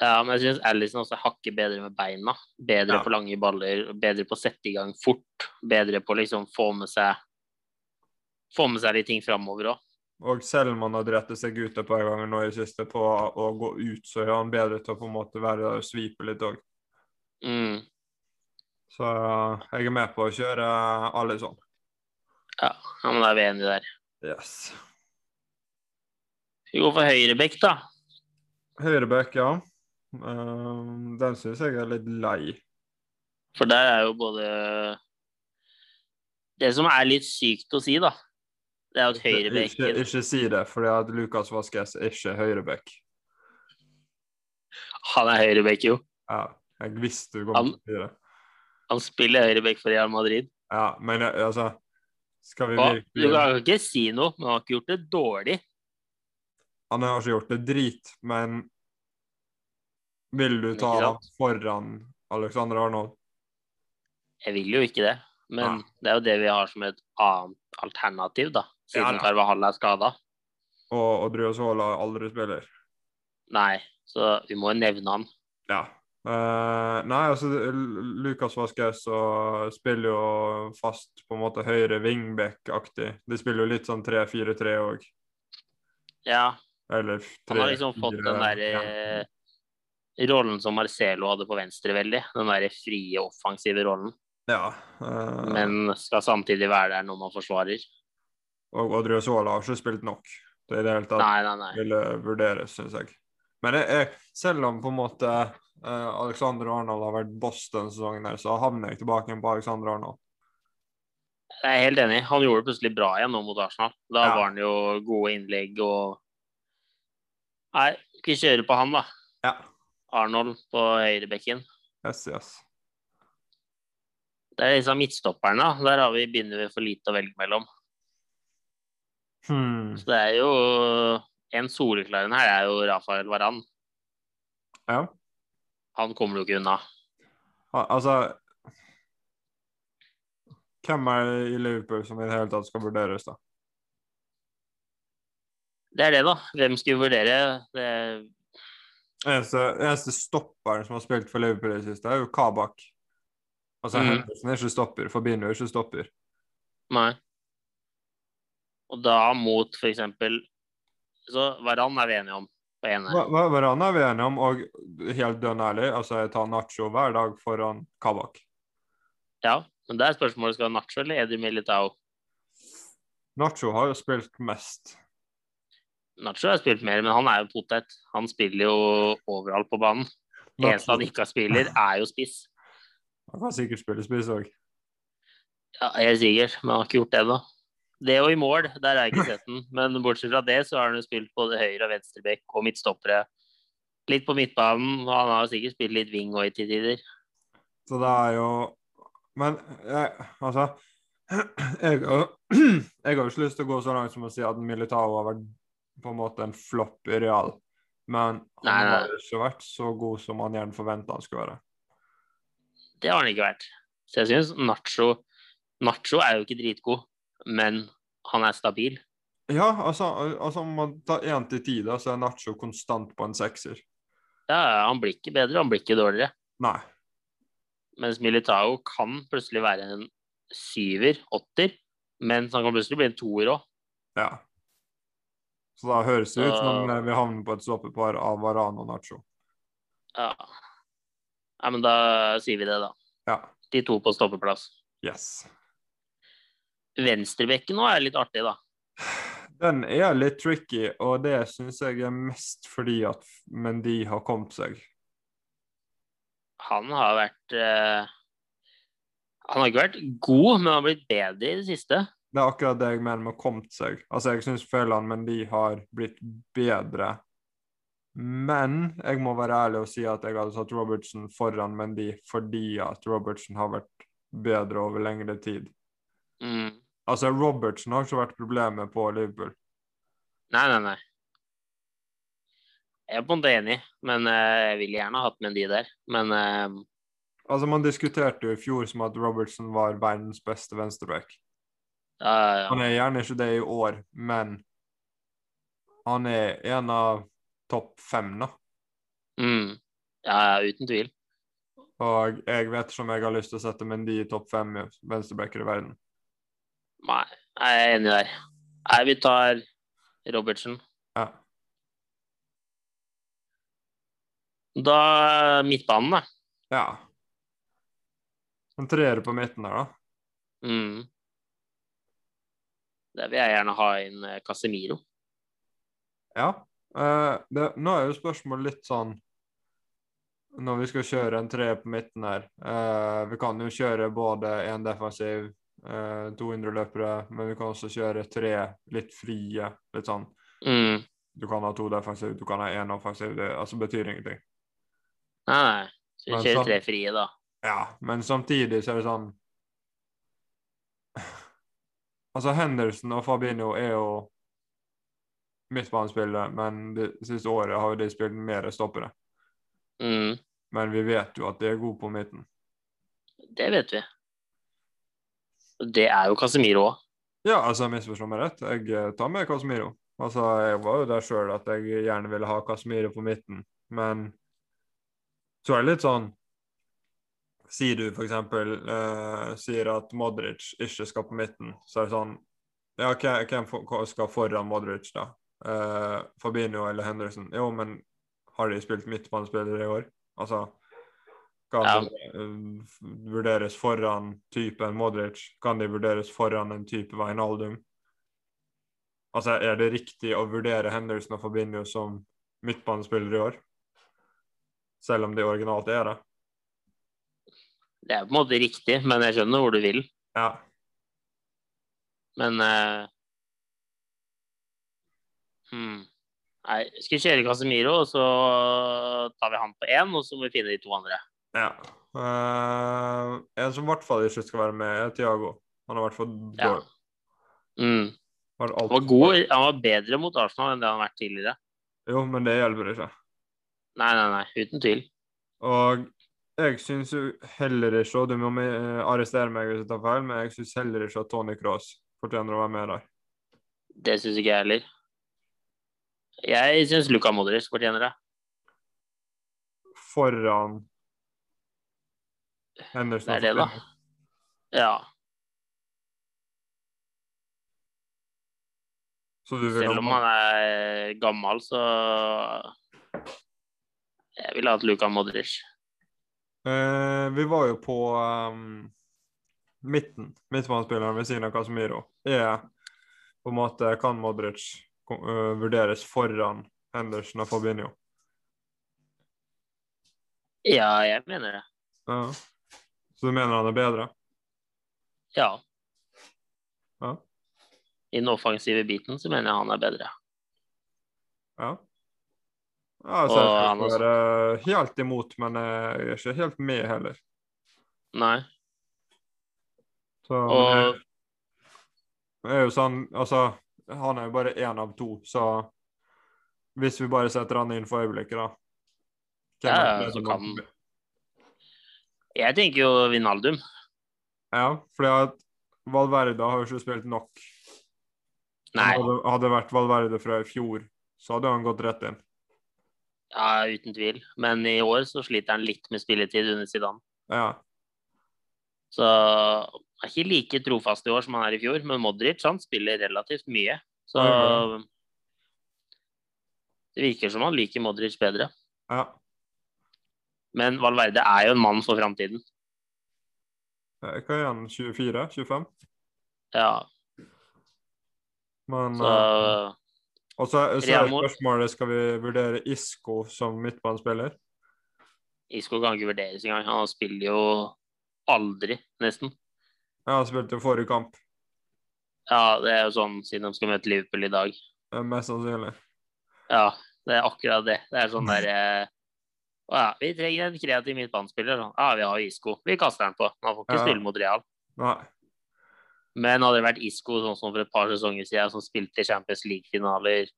Speaker 1: Ja, men jeg syns Alison også hakker bedre med beina. Bedre
Speaker 2: Ja.
Speaker 1: på lange baller, bedre på å sette i gang fort. Bedre på å liksom få med seg Få med seg litt ting framover òg.
Speaker 2: Og selv om han har rettet seg ut et par ganger nå i det siste på å gå ut, så er han bedre til å på en måte være der og svipe litt òg.
Speaker 1: Mm.
Speaker 2: Så jeg er med på å kjøre Ellison.
Speaker 1: Ja, ja, men da er vi enige der.
Speaker 2: Yes.
Speaker 1: Vi går for høyrebekk, da.
Speaker 2: Høyrebekk, ja. Ehm, den syns jeg er litt lei.
Speaker 1: For der er jo både Det som er litt sykt å si, da, Det er jo et
Speaker 2: Ikke,
Speaker 1: høyrebekken.
Speaker 2: ikke si det, fordi at Lukas Vasquez er ikke høyreback.
Speaker 1: Han er høyrebekk, jo.
Speaker 2: Ja, jeg visste du kom til å si det.
Speaker 1: Han spiller høyrebekk for Real Madrid.
Speaker 2: Ja, men jeg- altså Skal vi
Speaker 1: Og, du
Speaker 2: virkelig
Speaker 1: kan ikke si noe, men han har ikke gjort det dårlig.
Speaker 2: Han har ikke gjort det drit, men Vil du
Speaker 1: Ikke
Speaker 2: ta ham
Speaker 1: sant?
Speaker 2: foran Alexander Arnold?
Speaker 1: Jeg vil jo ikke det, men det er jo det vi har som et annet alternativ, da.
Speaker 2: Ja,
Speaker 1: Siden
Speaker 2: da.
Speaker 1: Carvahall er skada.
Speaker 2: Og Odriozola aldri spiller?
Speaker 1: Nei, så vi må jo nevne han.
Speaker 2: Ja. Eh, nei, altså L- Lukas Vasquez og spiller jo fast på en måte høyre wingback-aktig. De spiller jo litt sånn 3-4-3 òg.
Speaker 1: Ja,
Speaker 2: Eller
Speaker 1: han har liksom fått den
Speaker 2: 3-4-1.
Speaker 1: derre rollen som Marcelo hadde på venstre veldig. Den derre frie, offensive rollen.
Speaker 2: Ja. eh,
Speaker 1: Men skal samtidig være der når man forsvarer.
Speaker 2: Og Odriozola har ikke spilt nok. Det er det hele tatt
Speaker 1: Nei, nei, nei.
Speaker 2: ville vurderes, syns jeg. Men jeg, jeg, selv om på en måte eh, Alexander Arnold har vært boss denne sesongen, her, så havner jeg tilbake igjen på Alexander Arnold.
Speaker 1: Jeg er helt enig. Han gjorde det plutselig bra igjen nå mot Arsenal. Da
Speaker 2: Ja.
Speaker 1: var han jo gode innlegg og Nei, vi kjører på han, da.
Speaker 2: Ja.
Speaker 1: Arnold på høyrebekken.
Speaker 2: Yes, yes.
Speaker 1: Det er liksom midtstopperne. da. Der har vi, begynner vi for lite å velge mellom.
Speaker 2: Hmm.
Speaker 1: Så det er jo En soleklar en her er jo Rafael Varan.
Speaker 2: Ja.
Speaker 1: Han kommer jo ikke unna.
Speaker 2: Al- Altså Hvem er det i Liverpool som i det hele tatt skal vurderes, da?
Speaker 1: Det er det, da. Hvem skulle vurdere? Det,
Speaker 2: Eneste, eneste stopperen som har spilt for Liverpool i det siste, er jo Kabak. Altså,
Speaker 1: Mhm.
Speaker 2: Henderson er ikke stopper, Fabinho er ikke stopper.
Speaker 1: nei. Og da mot for eksempel Så Varan er vi enige om på ene.
Speaker 2: Hva- hva- Hverandre er vi enige om, og helt dønn ærlig, altså jeg tar Nacho hver dag foran Kabak.
Speaker 1: Ja, men det er spørsmålet skal Nacho eller Edi Militao.
Speaker 2: Nacho har jo spilt mest.
Speaker 1: Nacho har spilt mer, men han er jo potet. Han spiller jo overalt på banen. Det eneste
Speaker 2: Nacho,
Speaker 1: han ikke har spiller, er jo spiss.
Speaker 2: han kan sikkert spille spiss òg.
Speaker 1: Ja, helt sikkert, men han har ikke gjort det ennå. Det og i mål, der har jeg ikke sett den. Men bortsett fra det, så har han jo spilt både høyre- og venstrebekk og midtstoppere. Litt på midtbanen, og han har jo sikkert spilt litt wing òg til tider.
Speaker 2: Så det er jo Men jeg, altså jeg, har- jeg har jo ikke lyst til å gå så langt som å si at Militao har vært på en måte en flopp i real, men han
Speaker 1: Nei, nei.
Speaker 2: har ikke vært så god som han gjerne forventa han skulle være.
Speaker 1: Det har han ikke vært. Så jeg syns Nacho Nacho er jo ikke dritgod, men han er stabil.
Speaker 2: Ja, altså, altså om man tar én til ti, da, så er Nacho konstant på en sekser.
Speaker 1: Ja, han blir ikke bedre, han blir ikke dårligere.
Speaker 2: Nei.
Speaker 1: Mens Militao kan plutselig være en syver, åtter, mens han kan plutselig bli en toer òg.
Speaker 2: Ja. Så da høres det ut som
Speaker 1: Så-
Speaker 2: om eh, vi havner på et stoppepar av Varan og Nacho.
Speaker 1: Ja. ja, men da sier vi det, da.
Speaker 2: Ja.
Speaker 1: De to på stoppeplass.
Speaker 2: Yes.
Speaker 1: Venstrebekken nå er litt artig, da.
Speaker 2: Den er litt tricky, og det syns jeg er mest fordi at Mendy har kommet seg.
Speaker 1: Han har vært eh, Han har ikke vært god, men han har blitt bedre i det siste.
Speaker 2: Det er akkurat det jeg mener med kommet seg. Altså, jeg syns Føland Mendy har blitt bedre. Men jeg må være ærlig og si at jeg hadde satt Robertsen foran Mendy fordi at Robertsen har vært bedre over lengre tid.
Speaker 1: Mm.
Speaker 2: Altså, Robertsen har ikke vært problemet på Liverpool.
Speaker 1: Nei, nei, nei. Jeg er på en måte enig, men eh, jeg ville gjerne hatt med de der. Men eh,
Speaker 2: Altså, Man diskuterte jo i fjor som at Robertson var verdens beste venstreback.
Speaker 1: ja, ja,
Speaker 2: Han er gjerne ikke det i år, men han er en av topp fem, da.
Speaker 1: ja. mm. ja, ja, uten tvil.
Speaker 2: Og jeg vet ikke om jeg har lyst til å sette Mendy i topp fem venstrebacker i verden.
Speaker 1: Nei, jeg er enig der. Nei, vi tar Robertsen.
Speaker 2: Ja.
Speaker 1: Da midtbanen, da.
Speaker 2: ja. En treer på midten der, da.
Speaker 1: Mm. Der vil jeg gjerne ha inn eh, Casemiro.
Speaker 2: Ja. Eh, det, nå er jo spørsmålet litt sånn Når vi skal kjøre en treer på midten her eh, Vi kan jo kjøre både en defensiv, eh, 200 løpere, men du kan også kjøre tre litt frie. litt sånn.
Speaker 1: Mm.
Speaker 2: Du kan ha to defensive, du kan ha én offensiv. Det altså, betyr ingenting.
Speaker 1: Nei, nei. Så
Speaker 2: Men
Speaker 1: vi kjører
Speaker 2: sånn-
Speaker 1: tre frie, da.
Speaker 2: Ja, men samtidig så er det sånn Altså, Henderson og Fabinho er jo midtbanespillere, men det siste året har jo de spilt mer stoppere.
Speaker 1: Mm.
Speaker 2: Men vi vet jo at de er gode på midten.
Speaker 1: Det vet vi. Og Det er jo Casemiro òg.
Speaker 2: Ja, altså, misforstå meg rett. Jeg eh, tar med Casemiro. Altså, jeg var jo der sjøl at jeg gjerne ville ha Casemiro på midten, men så er det litt sånn Sier du for eksempel eh, sier at Modric ikke skal på midten, så er det sånn Ja, hva- hvem for- hva skal foran Modric, da? Eh, Fabinho eller Henderson? Jo, men har de spilt midtbanespillere i år? Altså Kan
Speaker 1: Ja.
Speaker 2: de eh, f- vurderes foran typen Modric? Kan de vurderes foran en type Wijnaldum? Altså, er det riktig å vurdere Henderson og Fabinho som midtbanespillere i år? Selv om de originalt er det.
Speaker 1: Det er på en måte riktig, men jeg skjønner hvor du vil.
Speaker 2: Ja.
Speaker 1: Men eh, hmm. Nei, skal vi kjøre Casemiro, og så tar vi han på én, og så må vi finne de to andre.
Speaker 2: ja. Eh, en som i hvert fall ikke skal være med, er Tiago. Han har i hvert fall
Speaker 1: Ja.
Speaker 2: dårlig.
Speaker 1: Mm.
Speaker 2: Har
Speaker 1: Han
Speaker 2: alt-
Speaker 1: var god, han var bedre mot Arsenal enn det han har vært tidligere.
Speaker 2: Jo, men det hjelper ikke.
Speaker 1: Nei, nei, nei, uten tvil.
Speaker 2: Og jeg syns jo heller ikke, og du må me- arrestere meg hvis jeg tar feil, men jeg syns heller ikke at Tony Cross fortjener å være med der.
Speaker 1: Det syns ikke jeg heller. Jeg syns Luka Modric fortjener det.
Speaker 2: Foran Henderson.
Speaker 1: Det er det, da. Ja.
Speaker 2: Så du vil
Speaker 1: Selv om han er gammel, så Jeg ville hatt Luka Modric.
Speaker 2: Eh, vi var jo på ehm, midten. Midtbanespilleren ved siden av Casemiro er på en måte Kan Modric ko- eh, vurderes foran Henderson og Fabinho?
Speaker 1: Ja, jeg mener det.
Speaker 2: Ja. Så du mener han er bedre?
Speaker 1: Ja.
Speaker 2: Ja.
Speaker 1: I den offensive biten så mener jeg han er bedre.
Speaker 2: Ja. Ja, så
Speaker 1: Og
Speaker 2: jeg skal
Speaker 1: han
Speaker 2: ikke
Speaker 1: også.
Speaker 2: være eh, helt imot, men jeg er ikke helt med heller.
Speaker 1: Nei.
Speaker 2: Så,
Speaker 1: Og
Speaker 2: Det er jo sånn, altså, han er jo bare én av to, så hvis vi bare setter han inn for øyeblikket, da hvem
Speaker 1: Ja,
Speaker 2: er det
Speaker 1: ja,
Speaker 2: som
Speaker 1: så kan-
Speaker 2: må-
Speaker 1: jeg tenker jo Vinaldum.
Speaker 2: Ja, fordi at Valverde har jo ikke spilt nok.
Speaker 1: Nei,
Speaker 2: Hadde, hadde det vært Valverde fra i fjor, så hadde han gått rett inn.
Speaker 1: ja, uten tvil. Men i år så sliter han litt med spilletid under Zidane.
Speaker 2: Ja,
Speaker 1: Så han er ikke like trofast i år som han er i fjor, men Modric han spiller relativt mye. Så
Speaker 2: Ja,
Speaker 1: det virker som han liker Modric bedre.
Speaker 2: ja,
Speaker 1: Men Valverde er jo en mann for framtiden.
Speaker 2: Eh, Hva er han, 24? 25?
Speaker 1: Ja,
Speaker 2: Men
Speaker 1: så
Speaker 2: eh, Og så, så er
Speaker 1: Real Madrid-
Speaker 2: spørsmålet skal vi vurdere Isco som midtbanespiller.
Speaker 1: Isco kan ikke vurderes engang. Han spiller jo aldri, nesten.
Speaker 2: Ja, han spilte jo forrige kamp,
Speaker 1: Ja, det er jo sånn siden de skal møte Liverpool i dag.
Speaker 2: eh, mest sannsynlig.
Speaker 1: Ja, det er akkurat det. Det er sånn der eh, å ja, Vi trenger en kreativ midtbanespiller. Sånn. Ja, vi har Isco. Vi kaster den på. Han får ikke
Speaker 2: Ja.
Speaker 1: spille mot Real.
Speaker 2: Nei.
Speaker 1: Men hadde det vært Isco sånn som for et par sesonger siden, som spilte i Champions League-finaler,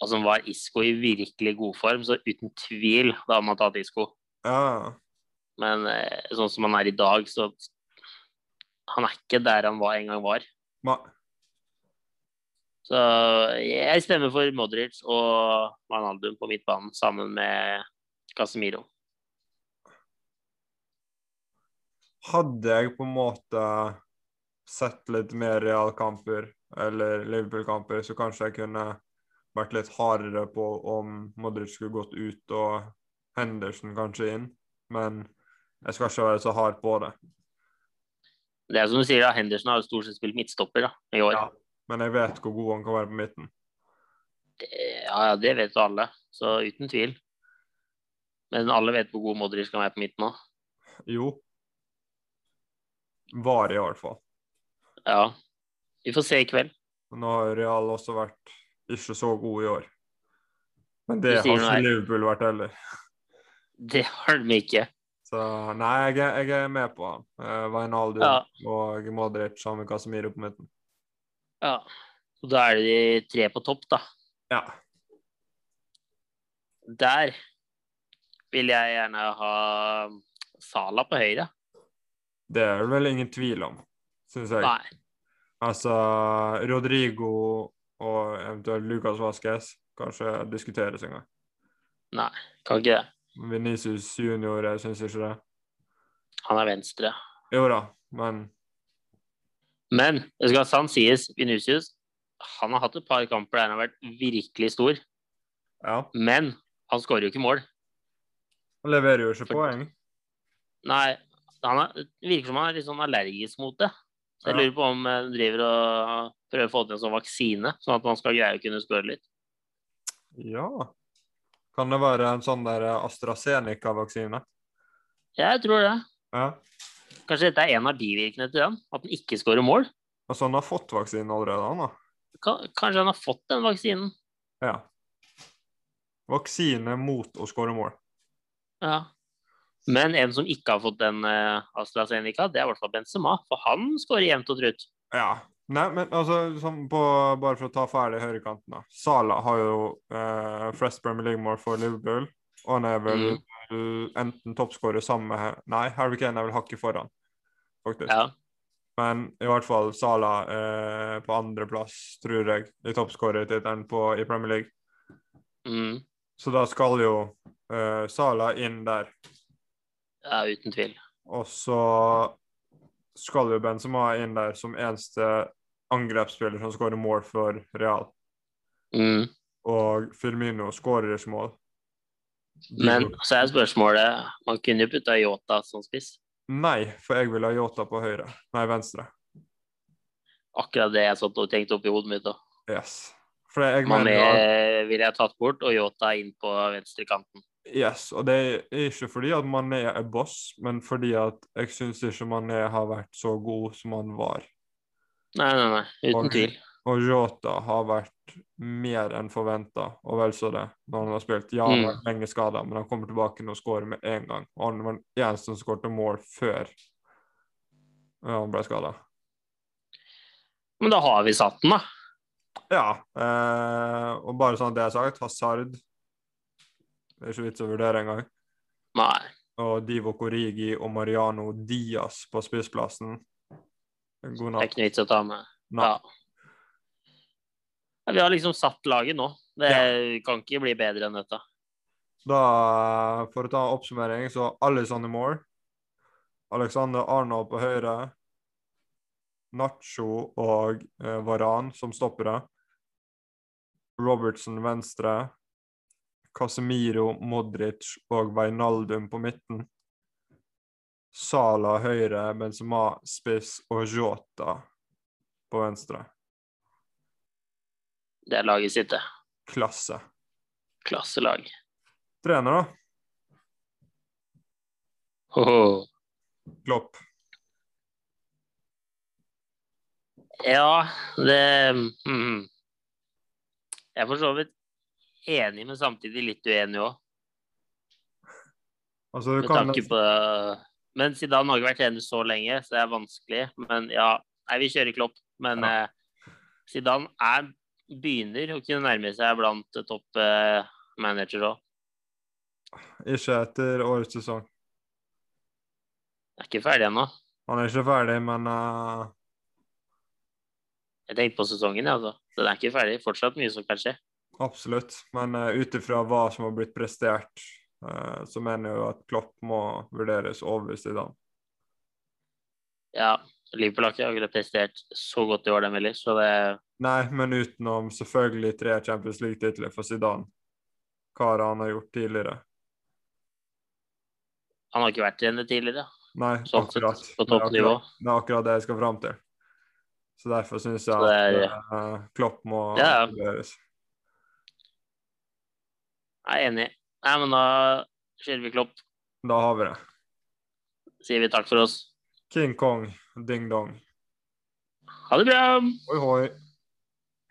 Speaker 1: og som var Isco i virkelig god form, så uten tvil da hadde man tatt Isco.
Speaker 2: Ja,
Speaker 1: Men eh, sånn som han er i dag, så Han er ikke der han var, en gang var.
Speaker 2: nei.
Speaker 1: Så jeg stemmer for Modric og Manaldum på midtbanen sammen med Casemiro.
Speaker 2: Hadde jeg på en måte sett litt mer Real-kamper eller Liverpool-kamper, så kanskje jeg kunne vært litt hardere på om Modric skulle gått ut og Henderson kanskje inn. Men jeg skal ikke være så hard på det.
Speaker 1: Det er som du sier, da, Henderson har jo stort sett spilt midtstopper da, i år.
Speaker 2: Ja. Men jeg vet hvor god han kan være på midten.
Speaker 1: Det, ja, ja, det vet jo alle, så uten tvil. Men alle vet hvor god Modric kan være på midten òg.
Speaker 2: Jo. var i hvert fall.
Speaker 1: Ja. Vi får se i kveld.
Speaker 2: Men Nå har Real også vært ikke så god i år. Men det
Speaker 1: Du
Speaker 2: har
Speaker 1: sier noe
Speaker 2: ikke
Speaker 1: her.
Speaker 2: Liverpool vært heller.
Speaker 1: Det har de ikke.
Speaker 2: Så nei, jeg, er- jeg er med på han. Eh, Wijnaldum
Speaker 1: Ja.
Speaker 2: og Modric sammen med Casemiro på midten.
Speaker 1: Ja. Og da er det de tre på topp, da.
Speaker 2: Ja.
Speaker 1: Der vil jeg gjerne ha Sala på høyre.
Speaker 2: Det er det vel ingen tvil om, syns jeg.
Speaker 1: Nei.
Speaker 2: Altså Rodrigo og eventuelt Lucas Vasques kanskje diskuteres en gang.
Speaker 1: Kan ikke det.
Speaker 2: Venicius junior, jeg syns ikke det.
Speaker 1: Han er venstre.
Speaker 2: Jo da, men
Speaker 1: Men det skal sant sies, Vinusius han har hatt et par kamper der han har vært virkelig stor,
Speaker 2: ja.
Speaker 1: men han skårer jo ikke mål.
Speaker 2: Han leverer jo ikke
Speaker 1: For-
Speaker 2: poeng.
Speaker 1: Nei, han er, det virker som han er litt sånn allergisk mot det. Så jeg
Speaker 2: Ja.
Speaker 1: lurer på om han driver og prøver å få til en sånn vaksine, sånn at man skal greie å kunne skåre litt.
Speaker 2: Ja. Kan det være en sånn der AstraZeneca-vaksine?
Speaker 1: Jeg tror det.
Speaker 2: Ja.
Speaker 1: Kanskje dette er en av bivirkene til den, at den ikke skårer mål.
Speaker 2: Altså, han har fått vaksinen allerede, han da?
Speaker 1: Ka- Kanskje han har fått den vaksinen.
Speaker 2: Ja. Vaksine mot å skåre mål.
Speaker 1: Ja. Men en som ikke har fått den eh, AstraZeneca, det er i hvert fall Benzema, for han skårer jevnt og trutt.
Speaker 2: Ja. Nei, men altså, sånn på, bare for å ta ferdig høyrekanten, da. Sala har jo eh, flest Premier League-mål for Liverpool, og han er
Speaker 1: Mm.
Speaker 2: vel eh, enten toppskårer sammen med Nei, Harry Kane er vel hakket foran, faktisk.
Speaker 1: Ja.
Speaker 2: Men i hvert fall Sala eh, på andreplass, tror jeg, i toppskårertittelen på- i Premier League.
Speaker 1: Mm.
Speaker 2: Så da skal jo eh, Sala inn der.
Speaker 1: ja, uten tvil.
Speaker 2: Og så skal jo Benzema inn der som eneste angrepsspiller som skårer mål for Real.
Speaker 1: Mm.
Speaker 2: Og Firmino skårer ikke mål.
Speaker 1: Men så er spørsmålet Man kunne jo putta Yota som spiss.
Speaker 2: Nei, for jeg vil ha Yota på høyre. Nei, venstre.
Speaker 1: Akkurat det jeg satt og tenkte oppi hodet mitt. da.
Speaker 2: Yes. For jeg mener
Speaker 1: Mané
Speaker 2: jo at
Speaker 1: ville jeg tatt bort, og Yota inn på venstrekanten.
Speaker 2: Yes, og det er ikke fordi at Mané er boss, men fordi at jeg syns ikke Mané har vært så god som han var.
Speaker 1: Nei, nei, nei. Uten
Speaker 2: Ok.
Speaker 1: tvil.
Speaker 2: Og Yota har vært mer enn forventa, og vel så det, når han har spilt. Ja, han har vært lenge skada, men han kommer tilbake nå og skårer med en gang. Og han var den eneste som skårte mål før ja, han ble skada.
Speaker 1: Men da har vi satt den, da.
Speaker 2: Ja, eh, og bare sånn at det er sagt, Hazard Det er ikke vits å vurdere engang.
Speaker 1: Nei.
Speaker 2: Og Divo Korigi og Mariano Diaz på spissplassen. God
Speaker 1: Det er
Speaker 2: natt.
Speaker 1: ikke noe vits å ta med.
Speaker 2: Nei.
Speaker 1: Ja. Ja, Vi har liksom satt laget nå. Det kan ikke bli bedre enn dette.
Speaker 2: Da, for å ta en oppsummering, så Alexander Moore, Alexander Arnold på høyre, Nacho og eh, Varan som stoppere, Robertson venstre, Casemiro, Modric og Veinaldum på midten, Sala høyre, Benzema spiss og Jota på venstre.
Speaker 1: Det er laget sitt, det.
Speaker 2: Klasse.
Speaker 1: Klasselag.
Speaker 2: Trener, da?
Speaker 1: Hoho.
Speaker 2: Klopp.
Speaker 1: Ja, det mm. Jeg er for så vidt enig, men samtidig litt uenig òg.
Speaker 2: Altså, du
Speaker 1: Med
Speaker 2: kan
Speaker 1: tanke på Men Zidane har ikke vært trener så lenge, så det er vanskelig. Men ja, nei, vi kjører Klopp. Men
Speaker 2: Ja.
Speaker 1: eh, Zidane er, begynner å kunne nærme seg blant eh, topp eh, managere òg.
Speaker 2: ikke etter årets sesong.
Speaker 1: Er ikke ferdig ennå.
Speaker 2: Han er ikke ferdig, men eh,
Speaker 1: Jeg tenkte på sesongen, jeg, altså. Den er ikke ferdig. Fortsatt mye som kan skje.
Speaker 2: absolutt. Men uh, ut ifra hva som har blitt prestert, eh, så mener jeg jo at Klopp må vurderes over Zidane.
Speaker 1: Ja, Liverpool har ikke akkurat prestert så godt i år, dem heller, så det
Speaker 2: Nei, men utenom selvfølgelig tre Champions League-titler for Zidane. Hva har han har gjort tidligere?
Speaker 1: Han har ikke vært trener tidligere,
Speaker 2: Nei,
Speaker 1: sånn sett,
Speaker 2: akkurat.
Speaker 1: på
Speaker 2: Det er
Speaker 1: toppnivå.
Speaker 2: akkurat- Det er akkurat det jeg skal fram til. Så derfor syns jeg
Speaker 1: Så
Speaker 2: at
Speaker 1: det
Speaker 2: eh, Klopp må
Speaker 1: Ja, ja.
Speaker 2: vurderes.
Speaker 1: Jeg er enig. Nei, men da kjører vi Klopp.
Speaker 2: Da har vi det.
Speaker 1: Sier vi takk for oss. King Kong, ding dong.
Speaker 2: Ha det bra!
Speaker 1: Hoi, hoi.